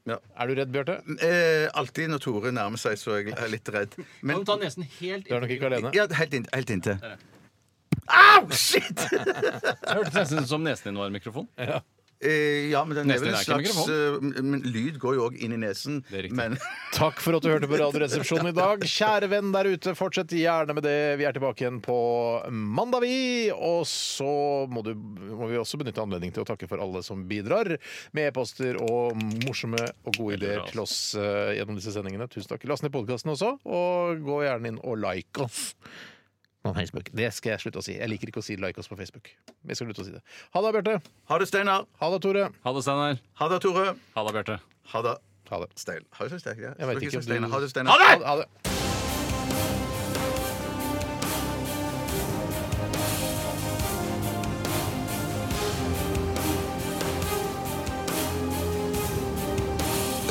D: Ja.
B: Er du redd, Bjarte?
D: Eh, alltid når Tore nærmer seg, så er jeg er litt redd. Men
C: ta nesen helt
B: Du er nok ikke alene.
D: ja, helt, inn, helt inntil. Au! Shit!
C: Hørtes nesten ut som nesen din var en mikrofon.
D: Eh, ja, men den er
C: Nesen
D: vel en
C: er ikke en
D: slags eh, men Lyd går jo òg inn i nesen.
C: Det er riktig.
D: Men
B: Takk for at du hørte på Radioresepsjonen i dag. Kjære venn der ute, fortsett gjerne med det. Vi er tilbake igjen på mandag, vi. Og så må, du, må vi også benytte anledningen til å takke for alle som bidrar med e-poster og morsomme og gode ideer til oss eh, gjennom disse sendingene. Tusen takk. Last ned podkasten også, og gå gjerne inn og like oss. På Facebook. Det skal jeg slutte å si. Jeg liker ikke å si 'like oss' på Facebook. Jeg skal slutte å si det. Ha det, Bjarte.
D: ha det, Steinar.
B: Ha det, Tore.
C: Ha det, Steinar.
D: Ha det, Tore.
C: Ha det, Bjarte.
D: Ha det.
B: Ha det.
D: Stein. Har jeg så sterk? Ja.
B: Jeg vet
D: Skal
B: ikke
D: si
B: om du-
D: Steinar. Ha det, Steinar.
B: Ha det! Ha det.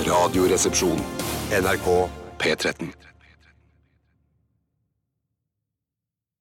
F: Radioresepsjon. NRK P13.